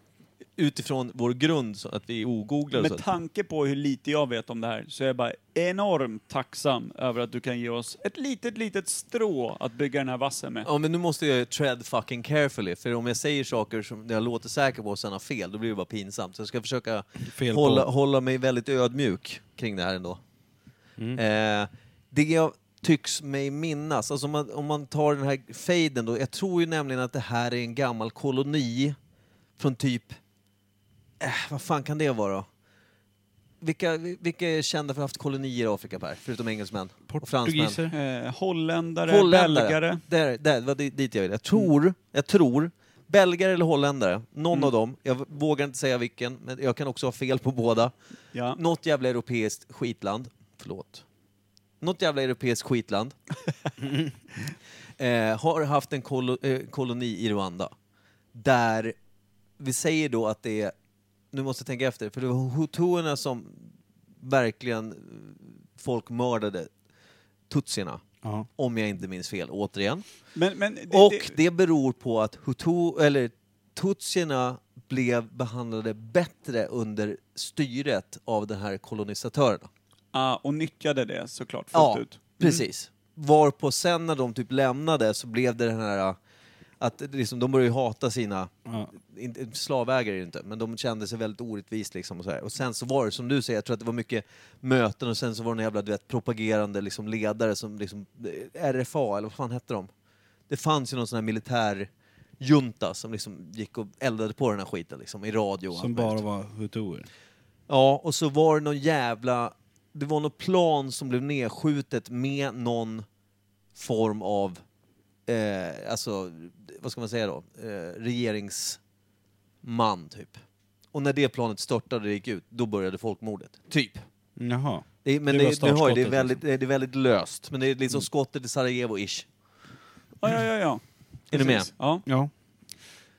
utifrån vår grund, så att vi är ogooglade och
Med
så.
tanke på hur lite jag vet om det här så är jag bara enormt tacksam över att du kan ge oss ett litet, litet strå att bygga den här vassen med.
Ja, men nu måste jag ju tread fucking carefully, för om jag säger saker som jag låter säker på och sen har fel, då blir det bara pinsamt. Så jag ska försöka
Fel på-
hålla, hålla mig väldigt ödmjuk kring det här ändå. Eh, det jag tycks mig minnas, alltså om man, om man tar den här fejden då, jag tror ju nämligen att det här är en gammal koloni från typ, eh, vad fan kan det vara då? Vilka, vilka är kända för att ha haft kolonier i Afrika, Per? Förutom engelsmän och fransmän.
Portugiser?
Eh, holländare, belgare.
Där, där, det var di- dit jag ville. Jag tror, jag tror, belgare eller holländare, någon av dem, jag vågar inte säga vilken, men jag kan också ha fel på båda.
Ja.
Något jävla europeiskt skitland, förlåt. Något jävla europeiskt skitland eh, har haft en kolo, eh, koloni i Rwanda. Där vi säger då att det är, nu måste jag tänka efter, för det var hutuerna som verkligen eh, folkmördade tutsierna.
Ja.
Om jag inte minns fel, återigen.
Men, men det,
Och
det,
det beror på att Hutu, eller tutsierna blev behandlade bättre under styret av de här kolonisatörerna.
ah, och nyttjade det såklart fullt ut.
Mm.
precis. Varpå sen när de typ lämnade så blev det den här äh, att det liksom, de började ju hata sina
Ja.
inte- slavägare är det inte, men de kände sig väldigt orättvist liksom och så här. Och sen så var det som du säger, jag tror att det var mycket möten och sen så var det någon jävla du vet, propagerande liksom, ledare som liksom, eh, RFA, eller vad fan hette de? Det fanns ju någon sån här militär junta som liksom gick och eldade på den här skiten liksom, i radio. och
Som
allt möjligt.
bara var hutuer.
Ja, och så var det någon jävla... Det var något plan som blev nedskjutet med någon form av... Eh, alltså, vad ska man säga då? Eh, regeringsman, typ. Och när det planet störtade och gick ut, då började folkmordet. Typ.
Jaha.
Det, är- men
Det
det,
var
det, nu har jag, det, är
startskottet,
väldigt, det är väldigt löst. Men det är liksom skottet i Sarajevo-ish.
Ja, ja, ja. ja.
Är du med?
Precis. Ja.
Ja.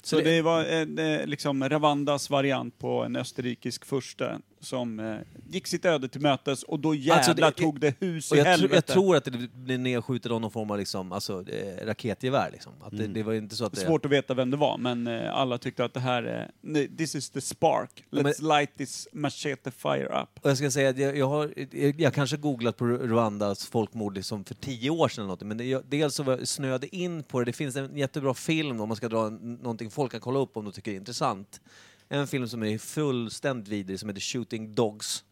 Så
Så det-
det var en, eh, liksom Ravandas variant på en österrikisk furste som eh, gick sitt öde till mötes och då jävlar
Alltså, det-
tog det hus
Och
i
jag, tr-
helvete.
jag tror att det blev nedskjutet av någon form av liksom, alltså, eh, raketgevär. Liksom. Att det, det var inte så att det...
Svårt att veta vem det var, men eh, alla tyckte att det här är... nej, This is the spark.
Ja,
Let's light this machete fire up.
Och jag ska säga att jag, jag har jag, jag kanske googlat på Rwandas folkmord liksom för tio år sedan eller något, men det, jag, dels så var jag snöade in på det. Det finns en jättebra film om man ska dra en, någonting folk kan kolla upp om de tycker det är intressant. En film som är fullständigt vidrig som heter Shooting Dogs,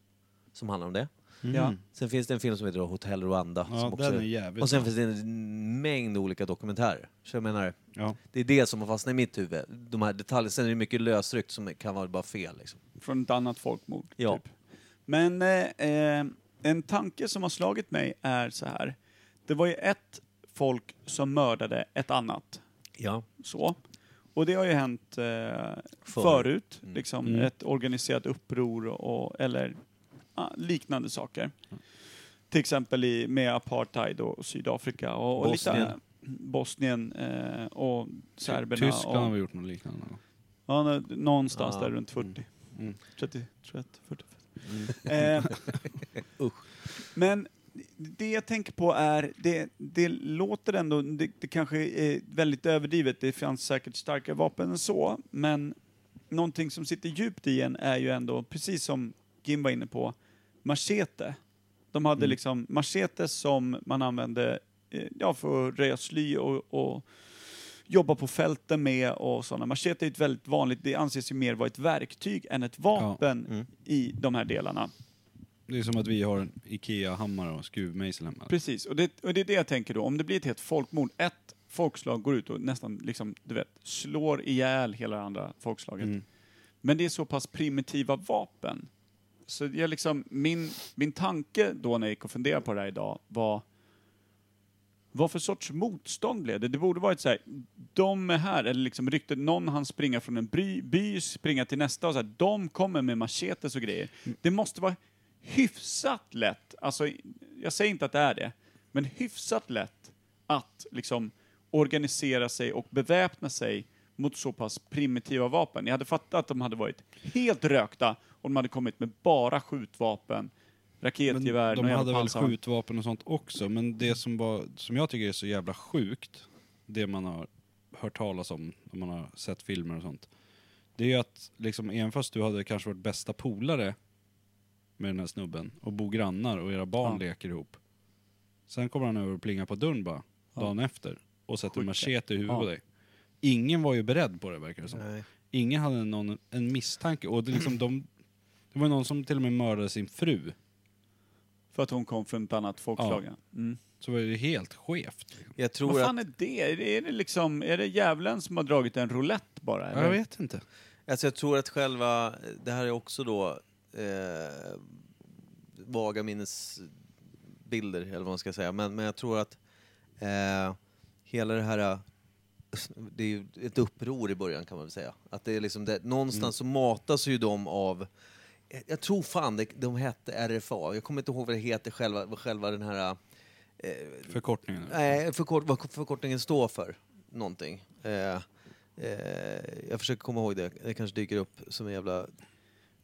som handlar om det.
Ja.
Sen finns det en film som heter Hotel Rwanda.
Mm. Ja,
som
den är jävligt
och sen
bra.
finns det en mängd olika dokumentärer. Så jag menar,
Ja.
det är det som har fastnat i mitt huvud. De här detaljerna. Sen är det mycket lösryckt som kan vara bara fel. Liksom.
Från ett annat folkmord.
Ja.
Typ. Men eh, eh, en tanke som har slagit mig är så här. Det var ju ett folk som mördade ett annat.
Ja.
Så. Och det har ju hänt eh, förut,
Mm.
liksom ett organiserat uppror och, eller ah, liknande saker.
Mm.
Till exempel i, med apartheid och Sydafrika och, och lite
Bosnien.
Bosnien eh, och serberna.
Tyskland har
och,
vi gjort något liknande. någon gång.
ja, nå- någonstans
Ja.
där runt 40.
Mm.
30, 30, 40. Eh, Men det jag tänker på är, det, det låter ändå, det, det kanske är väldigt överdrivet, det fanns säkert starkare vapen än så, men någonting som sitter djupt i en är ju ändå, precis som Jim var inne på, machete. De hade liksom machete som man använde eh, ja, för att röja sly och, och jobba på fälten med och sådana. Machete är ett väldigt vanligt, det anses ju mer vara ett verktyg än ett vapen i de här delarna.
Det är som att vi har en IKEA-hammare och skruvmejsel hemma.
Precis, och det, och det är det jag tänker då. Om det blir ett helt folkmord, ett folkslag går ut och nästan liksom, du vet, slår ihjäl hela det andra folkslaget. Men det är så pass primitiva vapen. Så jag liksom, min, min tanke då när jag gick och funderade på det här idag var vad för sorts motstånd blev det? Det borde varit så här, de är här, eller liksom ryktet, någon han springa från en by, by springa till nästa och så här, de kommer med machetes och grejer.
Mm.
Det måste vara hyfsat lätt, alltså jag säger inte att det är det, men hyfsat lätt att liksom organisera sig och beväpna sig mot så pass primitiva vapen. Jag hade fattat att de hade varit helt rökta om de hade kommit med bara skjutvapen,
Men
raketgevär,
de
någon
hade
jävla
väl
pansar.
skjutvapen och sånt också, men
Mm.
det som, var, som jag tycker är så jävla sjukt, det man har hört talas om, när man har sett filmer och sånt, det är ju att liksom, även fast du hade kanske varit bästa polare med den här snubben och bor grannar och era barn
Ja.
leker ihop, sen kommer han över och plingar på dörren bara, dagen efter, och sätter
Skjuter.
en machete i huvudet på
Ja.
dig. Ingen var ju beredd på det verkar det som.
Nej.
Ingen hade någon, en misstanke. Och det, är liksom, de, det var någon som till och med mördade sin fru.
För att hon kom från ett annat folkslag. Ja. Mm.
Så var det ju helt skevt. liksom.
Jag tror
Vad
att
fan är det? Är det, är det liksom, är det djävulen som har dragit en roulette bara? Eller?
Jag vet inte.
Alltså jag tror att själva, det här är också då eh, vaga minnesbilder eller vad man ska säga, men, men jag tror att eh, hela det här, eh, det är ju ett uppror i början kan man väl säga. Att det är liksom det, någonstans så matas ju de av, jag, jag tror fan det, de hette RFA, jag kommer inte ihåg vad det heter själva, vad själva den här, eh,
Förkortningen.
nej förkort, vad förkortningen står för, någonting. Eh, Eh, jag försöker komma ihåg det. Det kanske dyker upp som en jävla...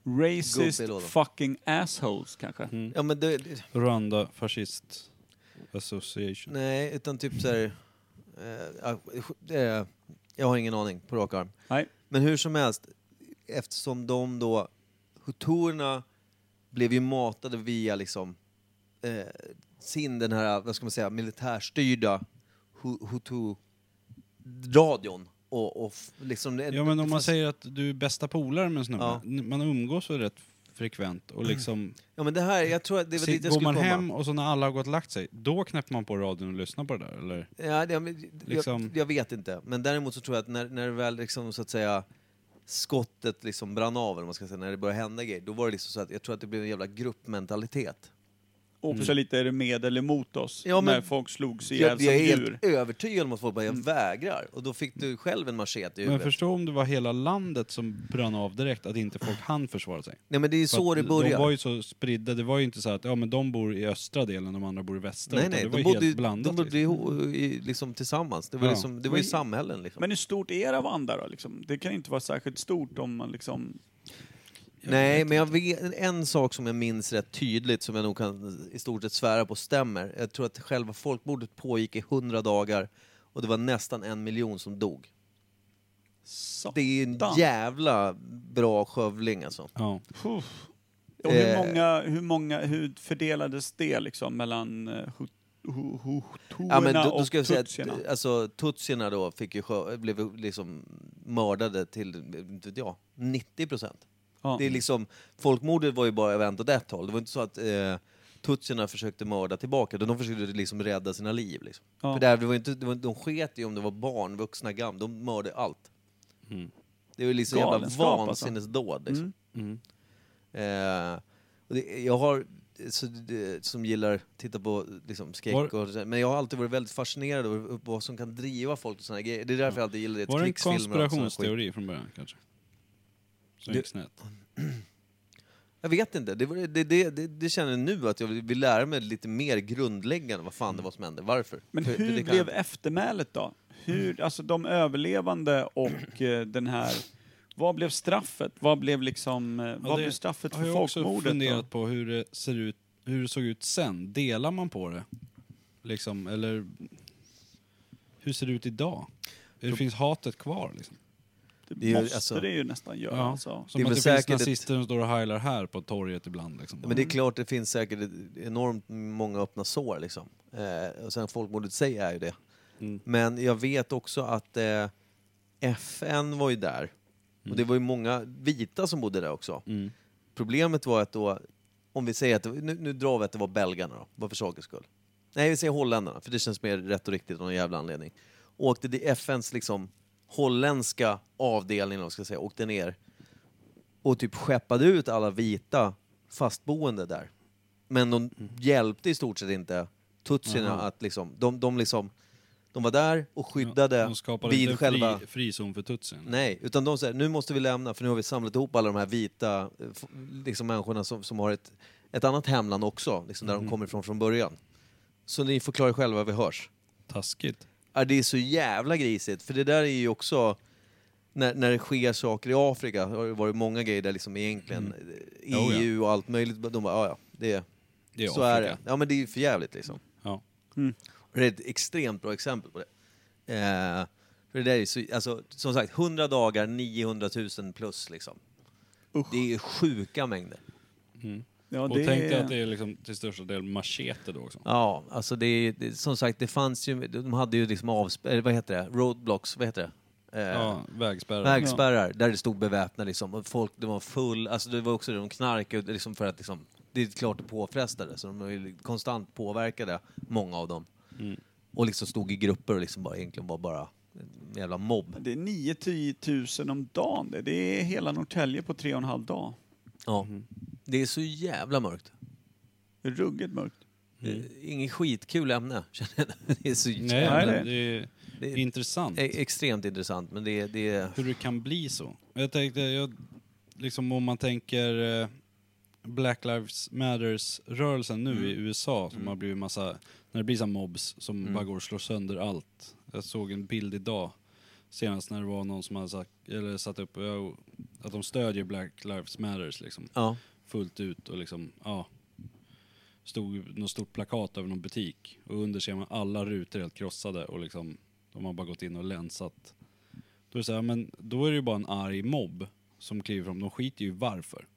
Gubbe i lådan.
Racist fucking assholes kanske?
Ja, men det, det,
Rwanda Fascist Association.
nej, utan typ så här... Eh, ah, eh, jag har ingen aning på rak arm.
Nej.
Men hur som helst, eftersom de då... Huturerna blev ju matade via liksom eh, sin, den här, vad ska man säga, militärstyrda hu- Hutu-radion. Och, och f- liksom...
Ja men om man
fast-
säger att du är bästa polare med en snubbe.
Ja. Mm.
n- Man umgås väl rätt frekvent och liksom...
Ja men det här, jag tror att det var
sit-
dit jag
går
skulle
man
komma.
hem och så när alla har gått och lagt sig, då knäpper man på radion och lyssnar på det där eller?
Ja, det, men,
Liksom-
jag, jag vet inte. Men däremot så tror jag att när, när det väl liksom, så att säga, skottet liksom brann av, eller vad man ska säga, när det började hända grejer, då var det liksom så att jag tror att det blev en jävla gruppmentalitet.
Också lite är det med eller mot oss?
Mm. Ja, men-
när folk slogs ihjäl
Jag,
som
jag är
djur?
helt övertygad om att folk bara, jag vägrar. Och då fick du själv en machete i
Mm. Men
huvudet.
förstå om det var hela landet som brann av direkt, att inte folk hann försvara sig.
Nej men det är ju
För
så
att
det
De var
börjar.
ju så spridda, det var ju inte så att ja, men de bor i östra delen och de andra bor i västra.
Nej
utan
nej,
det var ju
de bodde,
helt
ju-
blandat.
de bodde
liksom.
ju, i- liksom tillsammans. Det var,
Ja.
liksom, det var ju
Men-
samhällen liksom.
Men hur stort är Rwanda då? Liksom? Det kan ju inte vara särskilt stort om man liksom...
Nej, men jag vet, en sak som jag minns rätt tydligt, som jag nog kan i stort sett svära på stämmer. Jag tror att själva folkmordet pågick i hundra dagar och det var nästan en miljon som dog.
Satan.
Det är en jävla bra skövling alltså.
Ja.
Puff. Och hur,
Eh.
många, hur många, hur fördelades det liksom mellan eh, hu- hu- hu- hutuerna
Ja, men då, då ska
och
jag säga
tutsierna?
att alltså, tutsierna då fick ju, skö- blev liksom mördade till, inte vet jag, 90 procent.
Ja.
Det är liksom, folkmordet var ju bara vänt åt ett håll. Det var inte så att eh, tutsierna försökte mörda tillbaka, utan de försökte liksom rädda sina liv. Liksom.
Ja.
För där, det var inte, det var, de sket i om det var barn, vuxna, gamla. De mördade allt.
Mm.
Det var liksom jävla
Galenskap, alltså.
vansinnesdåd. Liksom.
Mm.
Eh, och det, jag har, så, det, som gillar att titta på liksom, skräck
Var-
och sådär, men jag har alltid varit väldigt fascinerad över vad som kan driva folk till sådana grejer. Det är därför jag alltid gillar det.
Var det en
krigsfilmer och sån skit.
konspirationsteori från början kanske? Som
Det-
gick snett?
Jag vet inte. Det, var- det, det, det, det känner jag nu att jag vill vill lära mig lite mer grundläggande vad
Mm.
fan det var som hände. Varför?
Men
Typ,
För- för
hur
det kan-
blev eftermälet då?
Mm.
Hur, alltså de överlevande och eh, den här... Vad blev straffet? Vad blev liksom... eh, vad
det
blev straffet
Jag har
för
ju också
folkmordet? då?
funderat på hur det, ser ut, hur det såg ut sen. Delar man på det? Liksom, eller hur ser det ut idag? Det finns hatet kvar liksom.
Det,
Det är ju-
måste
alltså-
det ju nästan göra. Alltså.
Som
är
att
väl
det finns
säkert ett-
nazister som står och heilar här på torget ibland. Liksom.
Ja, Men det är klart, det finns säkert enormt många öppna sår liksom. Eh, och sen folkmordet säger är ju det.
Mm.
Men jag vet också att eh, FN var ju där. Och det var ju många vita som bodde där också. Problemet var att då, om vi säger att, det var- nu, nu drar vi att det var belgarna då, bara för sakens skull. Nej, vi säger holländarna, för det känns mer rätt och riktigt av någon jävla anledning. Åkte till FNs liksom holländska avdelning, eller vad man ska säga, åkte ner och typ skeppade ut alla vita fastboende där. Men de hjälpte i stort sett inte tutsierna att liksom, de, de liksom, de var där och skyddade
De skapade
vid
inte en
själva...
fri, frizon för tutsen.
Nej, utan de säger nu måste vi lämna för nu har vi samlat ihop alla de här vita eh, f- liksom, människorna som, som har ett, ett annat hemland
Mhm.
också, liksom, där de kommer ifrån från början. Så ni får klara er själva, vi hörs.
Taskigt.
Ja, Ja, det är så jävla grisigt, för det där är ju också... När, när det sker saker i Afrika har det varit många grejer där liksom egentligen eh,
Oh, ja.
EU och allt möjligt, de bara ja ja, det,
Det är
så
Afrika.
är det. Ja men det är ju för jävligt liksom.
Ja.
Och Det är ett extremt bra exempel på det. Eh, för det där är ju så, alltså, som sagt, 100 dagar, 900 000 plus liksom. Det är sjuka mängder.
Ja,
Och tänk dig att det är liksom till största del machete då också.
Ja, alltså det, är- det som sagt, det fanns ju, de hade ju liksom avspärr, vad heter det, roadblocks, vad heter det? Eh,
Ja, vägspärrar.
Vägspärrar, där det stod beväpnade liksom. Och folk, det var full, alltså det var också det, de knarkade liksom för att liksom, det är klart det påfrestade, så de var ju konstant påverkade, många av dem.
Mm.
Och liksom stod i grupper och liksom bara, egentligen var bara en jävla mobb.
Det är 9-10 tusen om dagen. Det. det är hela Norrtälje på tre och en halv dag.
Ja. Mhm. Det är så jävla mörkt.
Det är Ruggigt mörkt.
Mm.
Eh, Inget skitkul ämne, känner jag. Det är så
Nej, Eh,
jävla...
Nej,
men
det-
det är
Det är-
intressant
e- Extremt intressant, men det, är- det är...
hur det kan bli så. Jag tänkte, jag, liksom om man tänker eh, Black Lives Matters-rörelsen nu i USA, som har blivit massa, när det blir så här mobs som bara går och slår sönder allt. Jag såg en bild idag senast när det var någon som hade sagt, eller satt upp ja, att de stödjer Black Lives Matters liksom
Ja.
fullt ut och liksom, ja. Stod något stort plakat över någon butik och under ser man alla rutor helt krossade och liksom, de har bara gått in och länsat. Då är det så här, men då är det ju bara en arg mobb som kliver fram, de skiter ju i varför.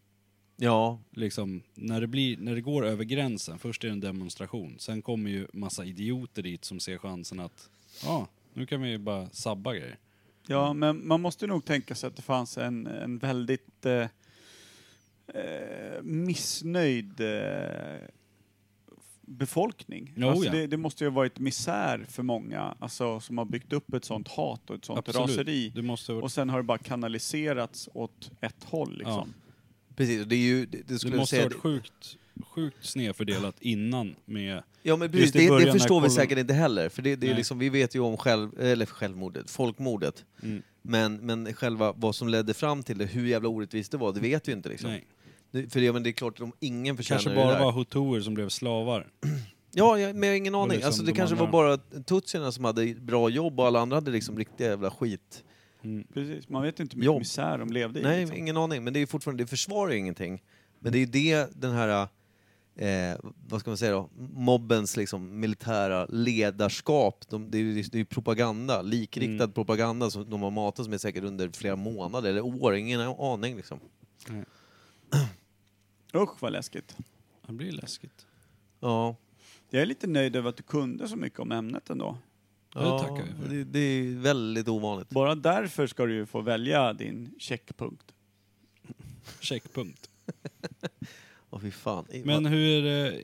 Ja,
Liksom, när det, blir, när det går över gränsen, först är det en demonstration, sen kommer ju massa idioter dit som ser chansen att, ja, nu kan vi ju bara sabba grejer.
Ja, men man måste nog tänka sig att det fanns en, en väldigt eh, eh, missnöjd eh, befolkning.
Jo,
alltså
ja.
det, det måste ju ha varit misär för många alltså, som har byggt upp ett sånt hat och ett sånt raseri.
Du måste, ha varit-
Och sen har det bara kanaliserats åt ett håll liksom.
precis. Och Det är ju... Det, det skulle
det
jag
måste
säga...
ha varit sjukt, sjukt snedfördelat innan med
Ja men precis,
Just i
det,
början
det
när
förstår vi
kolon-
säkert inte heller. För det, det är
Nej.
liksom, vi vet ju om själv, eller självmordet, folkmordet. Men, men själva vad som ledde fram till det, hur jävla orättvist det var, det vet vi inte liksom.
Nej.
Nu- För det, men det är klart att om ingen förtjänar
Kanske
det
bara
där.
var hutuer som blev slavar.
Ja, jag, men jag har ingen aning.
liksom
alltså, det
de
kanske
andra-
var bara tutsierna som hade bra jobb och alla andra hade liksom riktiga jävla skit.
Precis, man vet inte hur mycket
Jobb.
misär de levde i.
Nej,
liksom.
ingen aning. Men det är ju fortfarande, det försvarar ju ingenting. Men det är ju det den här, eh, vad ska man säga då, mobbens liksom militära ledarskap. De, det är ju det är ju propaganda, likriktad
Mm.
propaganda som de har matats med säkert under flera månader eller år. Ingen aning liksom.
Usch vad läskigt.
Det blir läskigt.
Ja.
Jag är lite nöjd över att du kunde så mycket om ämnet ändå.
Ja, det tackar vi för.
Det, det är väldigt ovanligt.
Bara därför ska du ju få välja din checkpunkt.
Checkpunkt.
Åh fy fan.
Men hur är det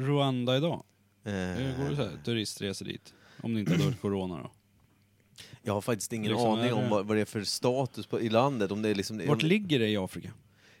Rwanda idag? Hur går det
eh,
så här, turistresor dit? Om det inte hade varit corona då?
jag har faktiskt ingen
Liksom,
aning
är
om
det-
vad, vad det är för status på, i landet. Om det är liksom,
Vart
om,
ligger det i Afrika?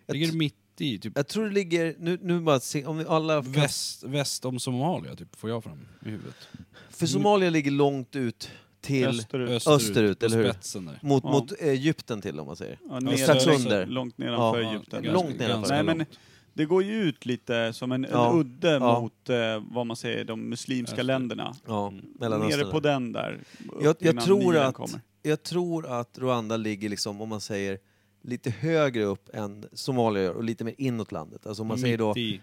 Ligger det mitt i? Typ
jag tror det ligger, nu, nu bara se, om vi alla kan
väst, väst om Somalia, typ, får jag fram i huvudet.
För Somalia ligger långt ut till...
Österut.
Österut,
på
eller hur?
spetsen där.
Mot,
Ja.
mot Egypten till om man säger.
Ja,
strax
långt-
under.
Långt nedanför
Ja,
Egypten.
ganska- Långt nedanför.
Nej, men
långt.
det går ju ut lite som en,
Ja,
en udde
ja.
mot eh, vad man säger, de muslimska
Öster.
länderna.
Ja,
Mm.
Mellanöstern.
Nere på den där. upp
jag, jag,
innan
tror
Nilen
att,
kommer.
jag tror att Rwanda ligger liksom, om man säger, lite högre upp än Somalia gör och lite mer inåt landet. Alltså om man säger då,
Mitt i,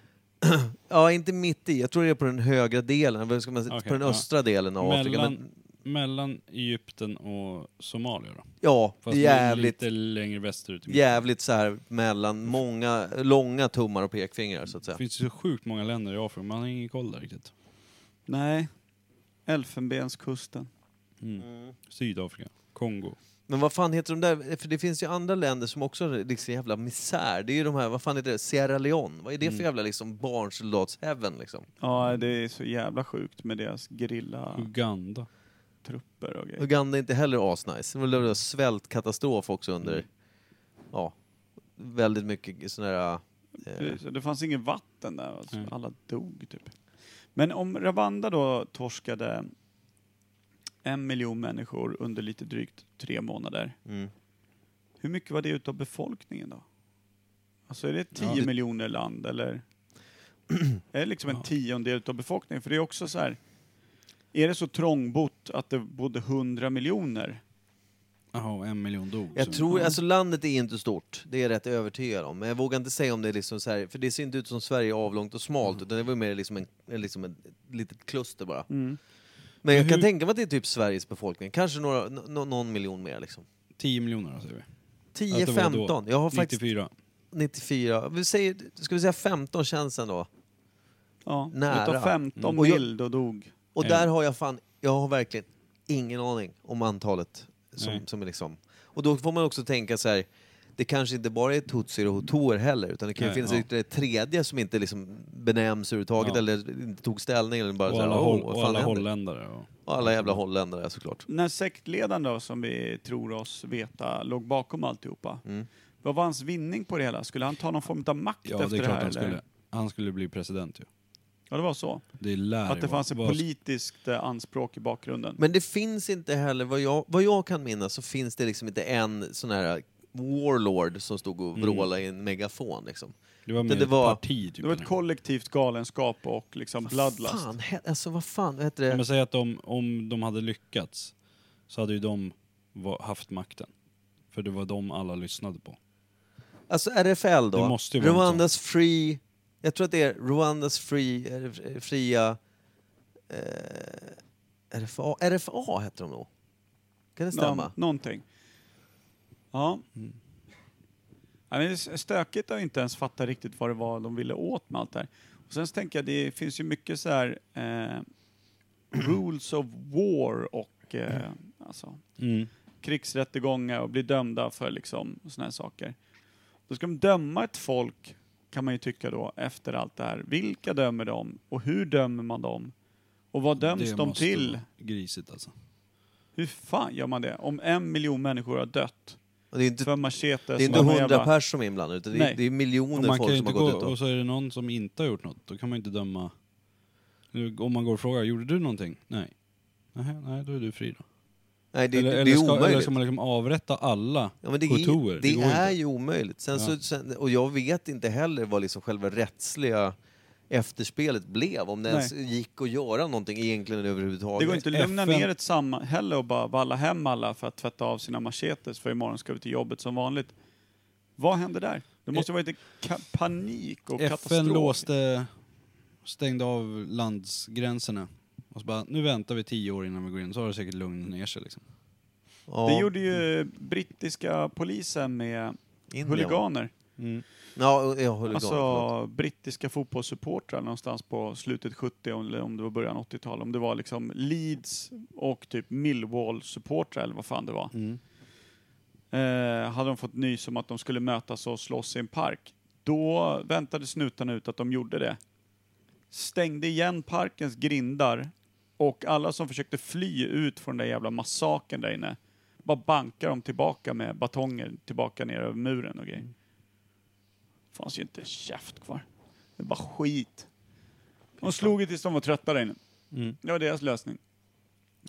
ja inte mitt i, jag tror det är på den högra delen, vad ska man säga,
Okej,
på den
ja.
östra delen av Afrika. Men,
mellan, mellan Egypten och Somalia då?
ja,
Fast
jävligt,
lite längre västerut. i mitten.
jävligt så här mellan många, långa tummar och pekfingrar så att säga.
Det finns ju så sjukt många länder i Afrika, man har ingen koll där riktigt.
Nej. Elfenbenskusten.
Mm.
Mm.
Sydafrika, Kongo.
Men vad fan heter de där? Eh, För det finns ju andra länder som också har liksom jävla misär. Det är ju de här, vad fan heter det? Sierra Leone. Vad är det för jävla liksom barnsoldatsheaven liksom?
Ja, det är så jävla sjukt med deras
Mm.
grilla
Uganda.
trupper och grejer.
Uganda är inte heller asnice. Det var väl svältkatastrof också under, ja, väldigt mycket sådana här... Eh,
Precis, och Det fanns inget vatten där, alltså.
Nej.
alla dog typ. Men om Rwanda då torskade en miljon människor under lite drygt tre månader.
mm.
Hur mycket var det utav befolkningen då? Alltså är det 10
Ja, det-
miljoner land eller? är det liksom en tiondel utav befolkningen? För det är också så här. Är det så trångbott trott att det bodde 100 miljoner.
Jaha, och en miljon dog. så-
Jag tror, alltså landet är inte stort, det är jag rätt övertygad om. Men jag vågar inte säga om det är liksom så här, för det ser inte ut som Sverige avlångt och smalt,
Mm.
utan det var ju mer liksom, en, en- liksom ett litet kluster bara.
Mm.
Men jag kan tänka mig att det är typ Sveriges befolkning, kanske några, nå- nå- någon miljon mer liksom.
10 miljoner säger vi. Att det var då.
10-15, jag har faktiskt
94.
94, vi säger, ska vi säga 15 känns ändå.
Ja,
Nära.
utav 15
Mm. Och jag-
mil, då dog.
Och
Ja.
där har jag fan, jag har verkligen ingen aning om antalet som,
Nej.
som är liksom. Och då får man också tänka så här, det kanske inte bara är tutsier och hotoer heller, utan det kan ju
Nej,
finnas
ja.
ytterligare ett tredje som inte liksom benämns överhuvudtaget
Ja.
eller inte tog ställning eller bara så
Och
här,
alla,
"Åh,
håll,
vad
och
fan
alla
händer?"
holländare. Och,
Och alla jävla holländare såklart.
Den här sektledaren då, som vi tror oss veta, låg bakom alltihopa.
Mm.
Vad var hans vinning på det hela? Skulle han ta någon form av makt
ja, det
efter
är
det,
klart
här?
han
eller?
skulle. Han skulle bli president ju.
Ja, det var så.
Det lär
Att det
ju
fanns ett
vara-
politiskt eh, anspråk i bakgrunden.
Men det finns inte heller, vad jag, vad jag kan minnas, så finns det liksom inte en sån här warlord som stod
Mm.
och vrålade i en megafon liksom.
Det var mer
det
ett
var-
parti typ.
det var ett kollektivt galenskap och liksom bloodlust.
Fan, he- alltså vad fan, vad heter det?
Ja, men säg att de, om de hade lyckats så hade ju de va- haft makten. För det var de alla lyssnade på.
Alltså RFL
Det
då.
måste ju vara
Rwandas Free... Jag tror att det är Rwandas Free... eh, Fria... Eh, RFA, RFA heter de nog. Kan det Mm. stämma?
Nå- någonting. Ja. ja men det är stökigt att inte ens fatta riktigt vad det var de ville åt med allt det här. Och sen så tänker jag, det finns ju mycket så här eh, rules of war och eh, alltså,
Mm.
krigsrättegångar och bli dömda för liksom sådana här saker. Då ska de döma ett folk, kan man ju tycka då, efter allt det här. Vilka dömer de och hur dömer man dem? Och vad döms
Det
de
måste
till?
vara Grisigt alltså.
Hur fan gör man det? Om en miljon människor har dött
Och det är inte,
för machetes...
det är inte
och de här
hundra
jävla-
pers som är inblandade, utan det är,
Nej.
det är
Och
miljoner
man kan
folk
ju
som
inte gå,
har gått ut och...
och så är det någon som inte har gjort något, då kan man ju inte döma. Nu- Om man går och frågar, gjorde du någonting? Nej. Nej, nej då är du fri då.
Nej, det,
eller,
det,
eller,
är
ska, eller
omöjligt.
ska man liksom avrätta alla
Ja, men det,
kotorer?
är- det,
går
är
inte.
ju omöjligt. Sen så,
Ja.
sen, och jag vet inte heller vad liksom själva rättsliga efterspelet blev. Om det ens gick att göra någonting egentligen överhuvudtaget.
Det går inte att lugna
FN
ner ett samhälle och bara valla hem alla för att tvätta av sina machetes för imorgon ska vi till jobbet som vanligt. Vad händer där? Det måste
Eh-
vara lite ka- panik och
FN
katastrof.
låste, stängde av landsgränserna. Och så bara, nu väntar vi tio år innan vi går in, så har det säkert lugnat ner sig liksom.
Ja,
Det gjorde ju brittiska polisen med
Indien, va?
huliganer.
Mm. Ja, ja huligan. förlåt.
Alltså brittiska fotbollssupportrar någonstans på slutet 70 eller om det var början 80-tal. Om det var liksom Leeds och typ Millwall-supportrar eller vad fan det var. Eh, hade de fått nys om att de skulle mötas och slåss i en park. Då väntade snutarna ut att de gjorde det. Stängde igen parkens grindar och alla som försökte fly ut från den där jävla massakern där inne bara bankar dem tillbaka med batonger tillbaka ner över muren och grejer fanns ju inte käft kvar. Det var skit. De slog ju tills de var trötta där inne.
Mm.
Det var deras lösning.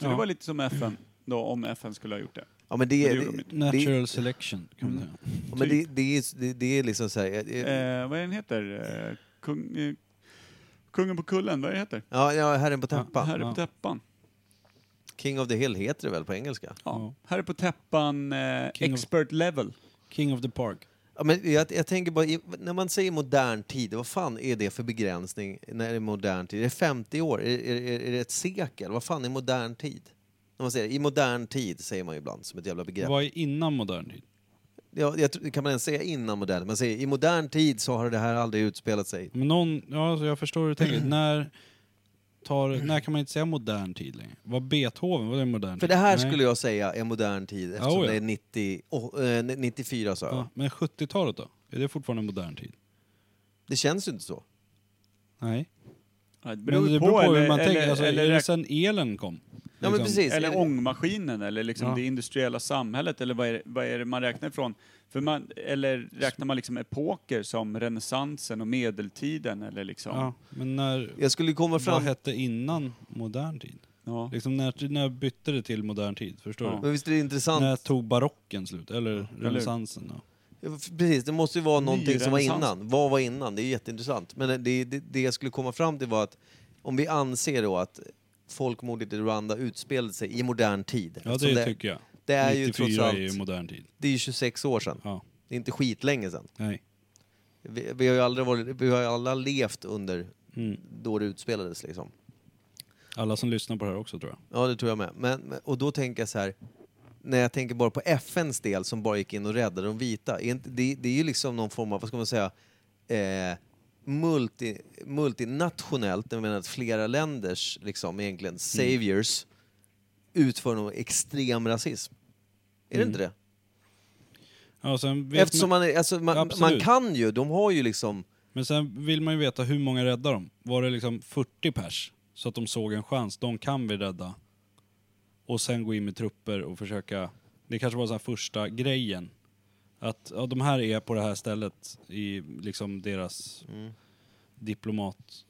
Så det var lite som FN då, om FN skulle ha gjort det.
Ja, men det,
Men
är-
det gjorde de inte.
det, Mm.
Natural selection kan man säga.
ja, men det, det, är, det, det är liksom så här, jag- jag-
Eh, vad är den heter? Eh, kung, eh, kungen på kullen, vad är det heter?
ja, ja, Herren på täppan.
Herre på täppan.
King of the Hill heter det väl på engelska?
Ja. Herre på täppan, eh,
King of-
expert level.
King of the park.
Ja, men jag, jag tänker bara, i- när man säger modern tid, vad fan är det för begränsning när det är modern tid? Är det 50 år? Är, är, är, är det ett sekel? Vad fan är modern tid? När man säger, I modern tid säger man ju ibland som ett jävla begrepp.
Vad är innan modern tid?
Ja, jag, tror- kan man ens säga innan modern? Man säger i modern tid så har det här aldrig utspelat sig.
Men någon, ja, alltså jag förstår hur du tänker. när, tar, när kan man inte säga modern tid längre? Var Beethoven, var det modern
För
tid?
det här
Nej.
skulle jag säga är modern tid eftersom
Ja, oja.
det är 90, åh, eh, 94 sa jag.
Ja, men 70-talet då? Är det fortfarande modern tid?
Det känns ju inte så.
Nej.
Ja, Det
Men
beror,
det beror på
eller,
hur man
eller,
tänker. Alltså,
eller,
är det
räk-
sen elen kom?
Ja, men
Liksom,
precis.
Eller ångmaskinen eller liksom
Ja.
det industriella samhället eller vad är, det- vad är det man räknar ifrån? För man, eller räknar man liksom epoker som renässansen och medeltiden eller liksom...
Ja, men när,
Jag skulle komma
vad
fram...
hette innan modern tid?
Ja.
Liksom när, när bytte det till modern tid? Förstår
Ja.
du?
Men visst är det intressant?
När tog barocken slut? Eller renässansen? Ja.
Precis, det måste ju vara någonting som var
renässans.
innan. Vad var innan? Det är jätteintressant. Men det, det, det jag skulle komma fram till var att om vi anser då att folkmordet i Rwanda utspelade sig i modern tid.
Ja,
Eftersom
det, tycker jag.
det är ju
94
trots allt
är ju modern tid.
det är ju 26 år sedan.
Ja.
Det är inte skitlänge sedan.
Nej.
Vi, vi har ju aldrig varit, vi har ju alla levt under
Mm.
då det utspelades liksom.
Alla som lyssnar på det här också tror jag.
Ja, det tror jag med. Men, men- och då tänker jag så här, när jag tänker bara på FNs del som bara gick in och räddade de vita. Är inte, det, det är ju liksom någon form av, vad ska man säga, eh, multi, multinationellt, jag menar att flera länders liksom
Mm.
egentligen saviors utför någon extrem rasism. Är det inte det?
Ja, sen Mm. vet
Eftersom man, är- alltså, man,
Absolut.
man kan ju, de har ju liksom...
Men sen vill man ju veta hur många räddar de? Var det liksom 40 pers? Så att de såg en chans, de kan vi rädda. Och sen gå in med trupper och försöka, det kanske var så här första grejen. Att ja, de här är på det här stället i liksom deras
Mm.
diplomat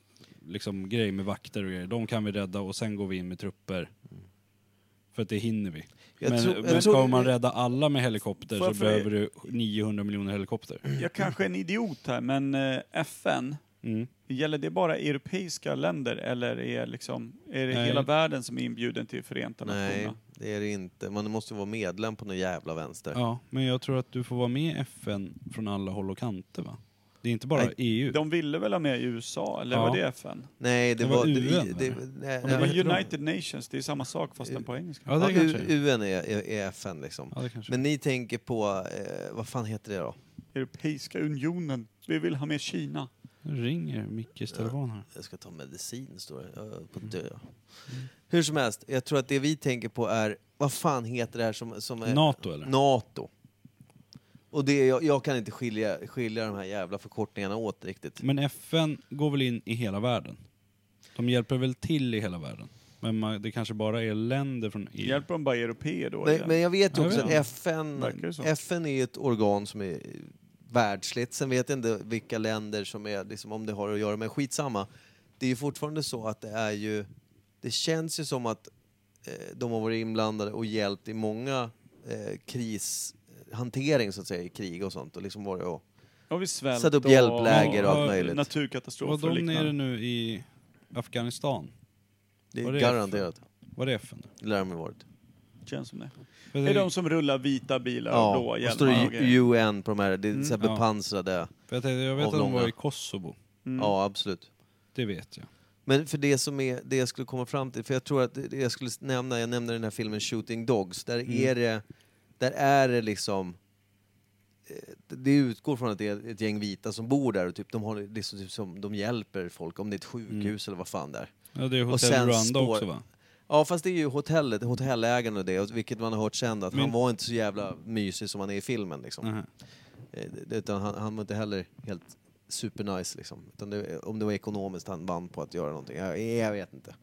liksom grej med vakter och grejer. De kan vi rädda och sen går vi in med trupper. För att det hinner vi.
Mm. Jag
men
tror- jag
men
tror-
ska man rädda alla med helikopter
Får
så
jag fråga-
behöver du 900 miljoner helikopter.
Jag kanske är en idiot här, men eh, FN,
Mm.
gäller det bara europeiska länder eller är, liksom, är det
Nej.
hela världen som är inbjuden till Förenta
Nej,
Nationerna?
det är det inte. Man måste vara medlem på någon jävla vänster.
Ja, men jag tror att du får vara med i FN från alla håll och kanter va? Det är inte bara E
Nej,
EU.
De ville väl ha med USA, eller
Ja.
var det FN?
Nej, det,
Det var
var...
UN,
det,
eller?
nej,
Det
nej.
var United Nations, det är samma sak fast den på engelska.
Ja, det
Ja,
kanske
U- E,
det är.
UN är, är, är FN liksom.
Ja, det kanske
Men ni tänker på, eh, vad fan heter det då?
Europeiska unionen, vi vill ha med Kina.
Nu ringer Mickes telefon här.
Jag ska ta medicin, står det. Jag höll på att
Mm.
dö. Hur som helst, jag tror att det vi tänker på är, vad fan heter det här som, som är...
NATO, eller?
NATO. Och det, jag, jag kan inte skilja, skilja de här jävla förkortningarna åt riktigt.
Men FN går väl in i hela världen? De hjälper väl till i hela världen? Men man, det kanske bara är länder från E EU?
Hjälper de bara europeer då?
Men,
eller?
men jag vet ju
Jag
också
vet
att
inte.
FN,
Verkar det så?
FN är ju ett organ som är världsligt. Sen vet jag inte vilka länder som är, liksom, om det har att göra med. Skitsamma. Det är ju fortfarande så att det är ju... Det känns ju som att eh, de har varit inblandade och hjälpt i många eh, krishantering så att säga, i krig och sånt. Och liksom varit och
Har vi svält
satt upp
och-
hjälpläger och
Ja,
allt möjligt.
Var
Naturkatastrofer och
de nere
liknande.
nu i Afghanistan?
Det
var
är
det
garanterat.
Var det FN?
Det lär de ha varit.
Känns som det.
För
Det är de som rullar vita bilar och
Ja,
blåa
och står
hjälmar. och
det
grejer.
ju- UN på de här, det är så här
Mm. Ja.
bepansrade.
för jag, tänkte, jag vet att de
Avlånga.
var i Kosovo.
Mm.
Ja, absolut.
Det vet jag.
Men för det som är det jag skulle komma fram till, för jag tror att det jag skulle nämna, jag nämnde den här filmen Shooting Dogs, där är det, där är det liksom eh, det utgår från att det är ett gäng vita som bor där och typ de, har, det är så, typ som, de hjälper folk, om det är ett sjukhus eller vad fan det är.
Ja, det är
Och
Hotel
sen
Rwanda
spår-
också va?
Ja fast det är ju hotellet, hotellägaren och det, och vilket man har hört sen att han
Men-
var inte så jävla mysig som han är i filmen liksom.
Nähä.
Eh, det- Utan han, han var inte heller helt supernice liksom. Utan det, om det var ekonomiskt han vann på att göra någonting. Jag, jag vet inte.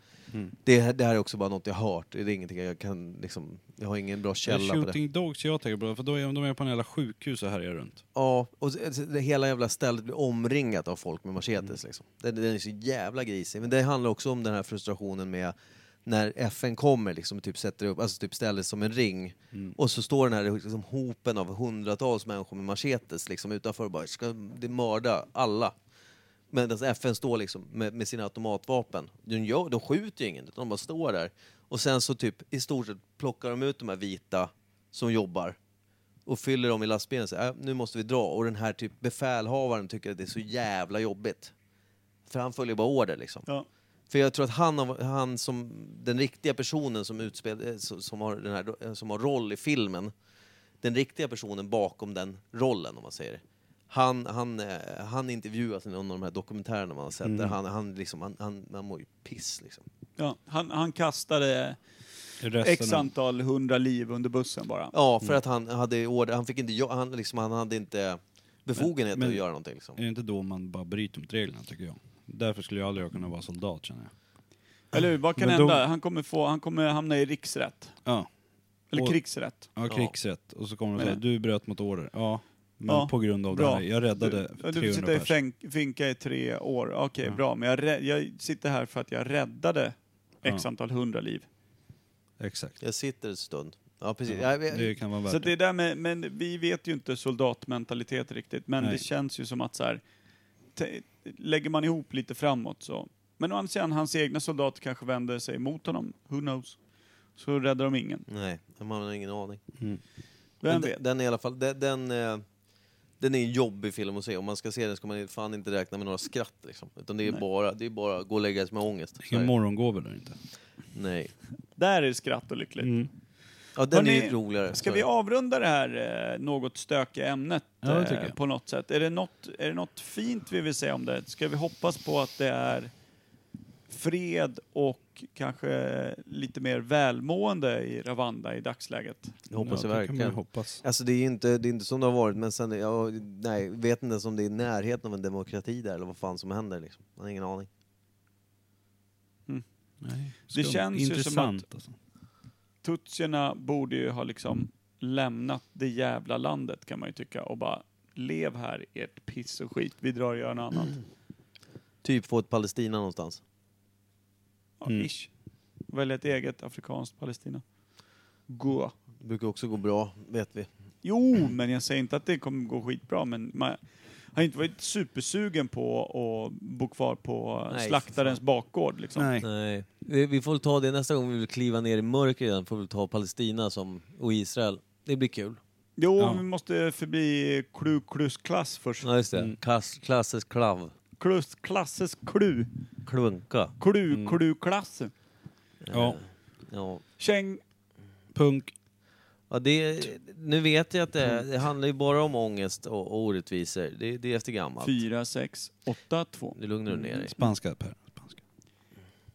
Det, här- det här är också bara något jag har hört. Det är ingenting jag kan liksom, jag har ingen bra
Det är
källa på det.
Shooting Dogs jag tänker på, för då är de är på en jävla sjukhus och härjar runt.
Ja, och så- så det hela jävla stället blir omringat av folk med machetes liksom. Den, den är så jävla grisig. Men det handlar också om den här frustrationen med när FN kommer liksom och typ sätter upp, alltså typ ställer som en ring och så står den här liksom, hopen av hundratals människor med machetes liksom utanför och bara ska det mörda alla. Medan FN står liksom med, med sina automatvapen. De, gör, de skjuter ju ingen, utan de bara står där. Och sen så typ i stort sett plockar de ut de här vita som jobbar och fyller dem i lastbilen och säger äh, nu måste vi dra. Och den här typ befälhavaren tycker att det är så jävla jobbigt. För han följer bara order liksom.
Ja.
För jag tror att han, har- han som den riktiga personen som, utspel, eh, som, som, har den här, eh, som har roll i filmen, den riktiga personen bakom den rollen om man säger han, han, eh, han intervjuas i någon av de här dokumentärerna man har sett
Mm.
där han, han, liksom, han, han, han mår ju piss liksom.
Ja. Han, han kastade
Resten
x antal hundra liv under bussen bara.
Ja,
Mm.
för att han hade order, han fick inte, jo- han, liksom, han hade inte befogenhet
men-
att göra någonting liksom.
Är det inte då man bara bryter mot reglerna tycker jag? Därför skulle jag aldrig kunna vara soldat känner jag.
Eller hur? Vad kan
Men
hända?
de-
Han, kommer få, han kommer hamna i riksrätt.
Ja,
Eller
Och-
krigsrätt.
ja krigsrätt. Och så kommer de
Men-
säga, du bröt mot order. Ja, men
Ja,
på grund av
bra.
det här. Jag räddade
Ja, Du får
300
sitta i
pers.
fänk, finka i tre år. Okej,
Ja.
bra. Men jag, rä- jag sitter här för att jag räddade x
Ja.
antal hundra liv.
Exakt.
Jag sitter en stund. Ja, precis.
Ja,
Jag- jag-
det kan vara
Så
värt
det
det.
är där med, men vi vet ju inte soldatmentalitet riktigt, men
Nej.
det känns ju som att så här, te- lägger man ihop lite framåt så Men å andra sidan, hans egna soldater kanske vänder sig mot honom. Who knows? Så räddar de ingen.
Nej, man har ingen aning.
Vem
Men
vet?
den, den är i alla fall... Den, den, eh, den är en jobbig film att se. Om man ska se den ska man fan inte räkna med några skratt. Liksom. Utan det är,
Nej.
bara, det är bara att gå och lägga sig med ångest. Så
Inga
här.
morgongåvor där inte.
Nej.
Där är det skratt och lyckligt.
Mm.
Ja, den är
Hörrni,
ju roligare.
Ska
Så-
vi avrunda det här eh, något stökiga ämnet
Ja, det
eh,
tycker jag.
på något sätt? Är det något, är det något fint vi vill säga om det? Ska vi hoppas på att det är fred och kanske lite mer välmående i Ravanda i dagsläget?
Jag hoppas
ja,
jag
det kan man ju
verkligen.
hoppas.
Alltså det är ju inte, det är inte som det har varit, men sen, ja, nej, vet inte ens om det är i närheten av en demokrati där eller vad fan som händer liksom. Man har ingen aning.
Nej,
Det
skumt.
känns ju som
Intressant alltså.
Tutsierna borde ju ha liksom lämnat det jävla landet kan man ju tycka och bara lev här ert piss och skit, vi drar och gör något annat.
Typ få ett Palestina någonstans.
Ja,
Mm.
ish. Välja ett eget afrikanskt Palestina. Gå.
Det brukar också gå bra, vet vi.
Jo, men jag säger inte att det kommer gå skitbra, men man har inte varit supersugen på att bo kvar på
Nej,
slaktarens bakgård. Liksom.
Nej.
Nej. Vi, vi får väl ta det nästa gång vi vill kliva ner i mörker igen, får vi väl ta Palestina som, och Israel. Det blir kul.
Jo,
Ja.
vi måste förbi klu, klus, klass först.
Ja just det. Klass, klassisk klav.
Klus, klasses klu.
Klunka.
Klu,
Mm.
klu, klass.
Ja,
Ja.
Käng.
punk.
Ja, det, nu vet jag att det, det handlar ju bara om ångest och, och orättvisor. Det, det är efter gammalt.
fyra sex åtta två.
Nu lugnar du ner dig.
Spanska Per. Spanska.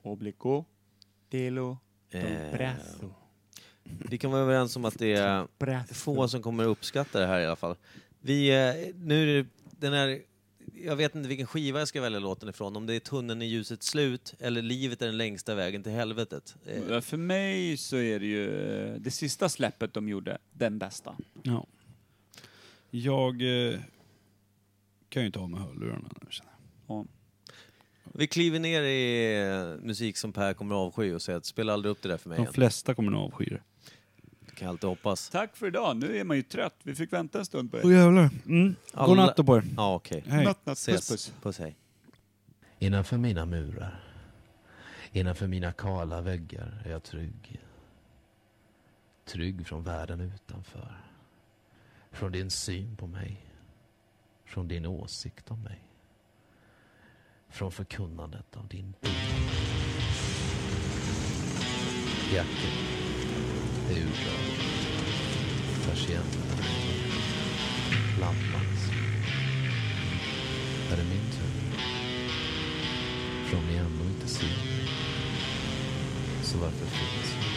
Oblico. Delo.
Eh,
Brasso.
vi kan vara överens om att det är få som kommer att uppskatta det här i alla fall. Vi, eh, nu är det den här, jag vet inte vilken skiva jag ska välja låten ifrån, om det är Tunneln i ljusets slut eller Livet är den längsta vägen till helvetet. Eh,
För mig så är det ju eh, det sista släppet de gjorde, den bästa.
Ja. Jag eh, kan ju inte ha med hörlurarna nu känner jag.
Vi kliver ner i eh, musik som Per kommer att avsky och säger att spela aldrig upp det där för mig
De
igen.
flesta kommer nog avsky det.
Det kan jag alltid hoppas.
Tack för idag, nu är man ju trött. Vi fick vänta en stund på er.
Åh jävlar. Mm.
Alla-
Godnatt då på er.
Ja, okej.
Hej.
Natt, natt.
Ses.
Puss, puss.
Puss, hej.
Innanför mina murar, innanför mina kala väggar är jag trygg. Trygg från världen utanför. Från din syn på mig. Från din åsikt om mig. Från förkunnandet av din bild. Jacket är urdragen. Persiennerna är ner. Lampan är det min tur assim, né? tá från ni ännu inte ser mig. Så varför finns jag?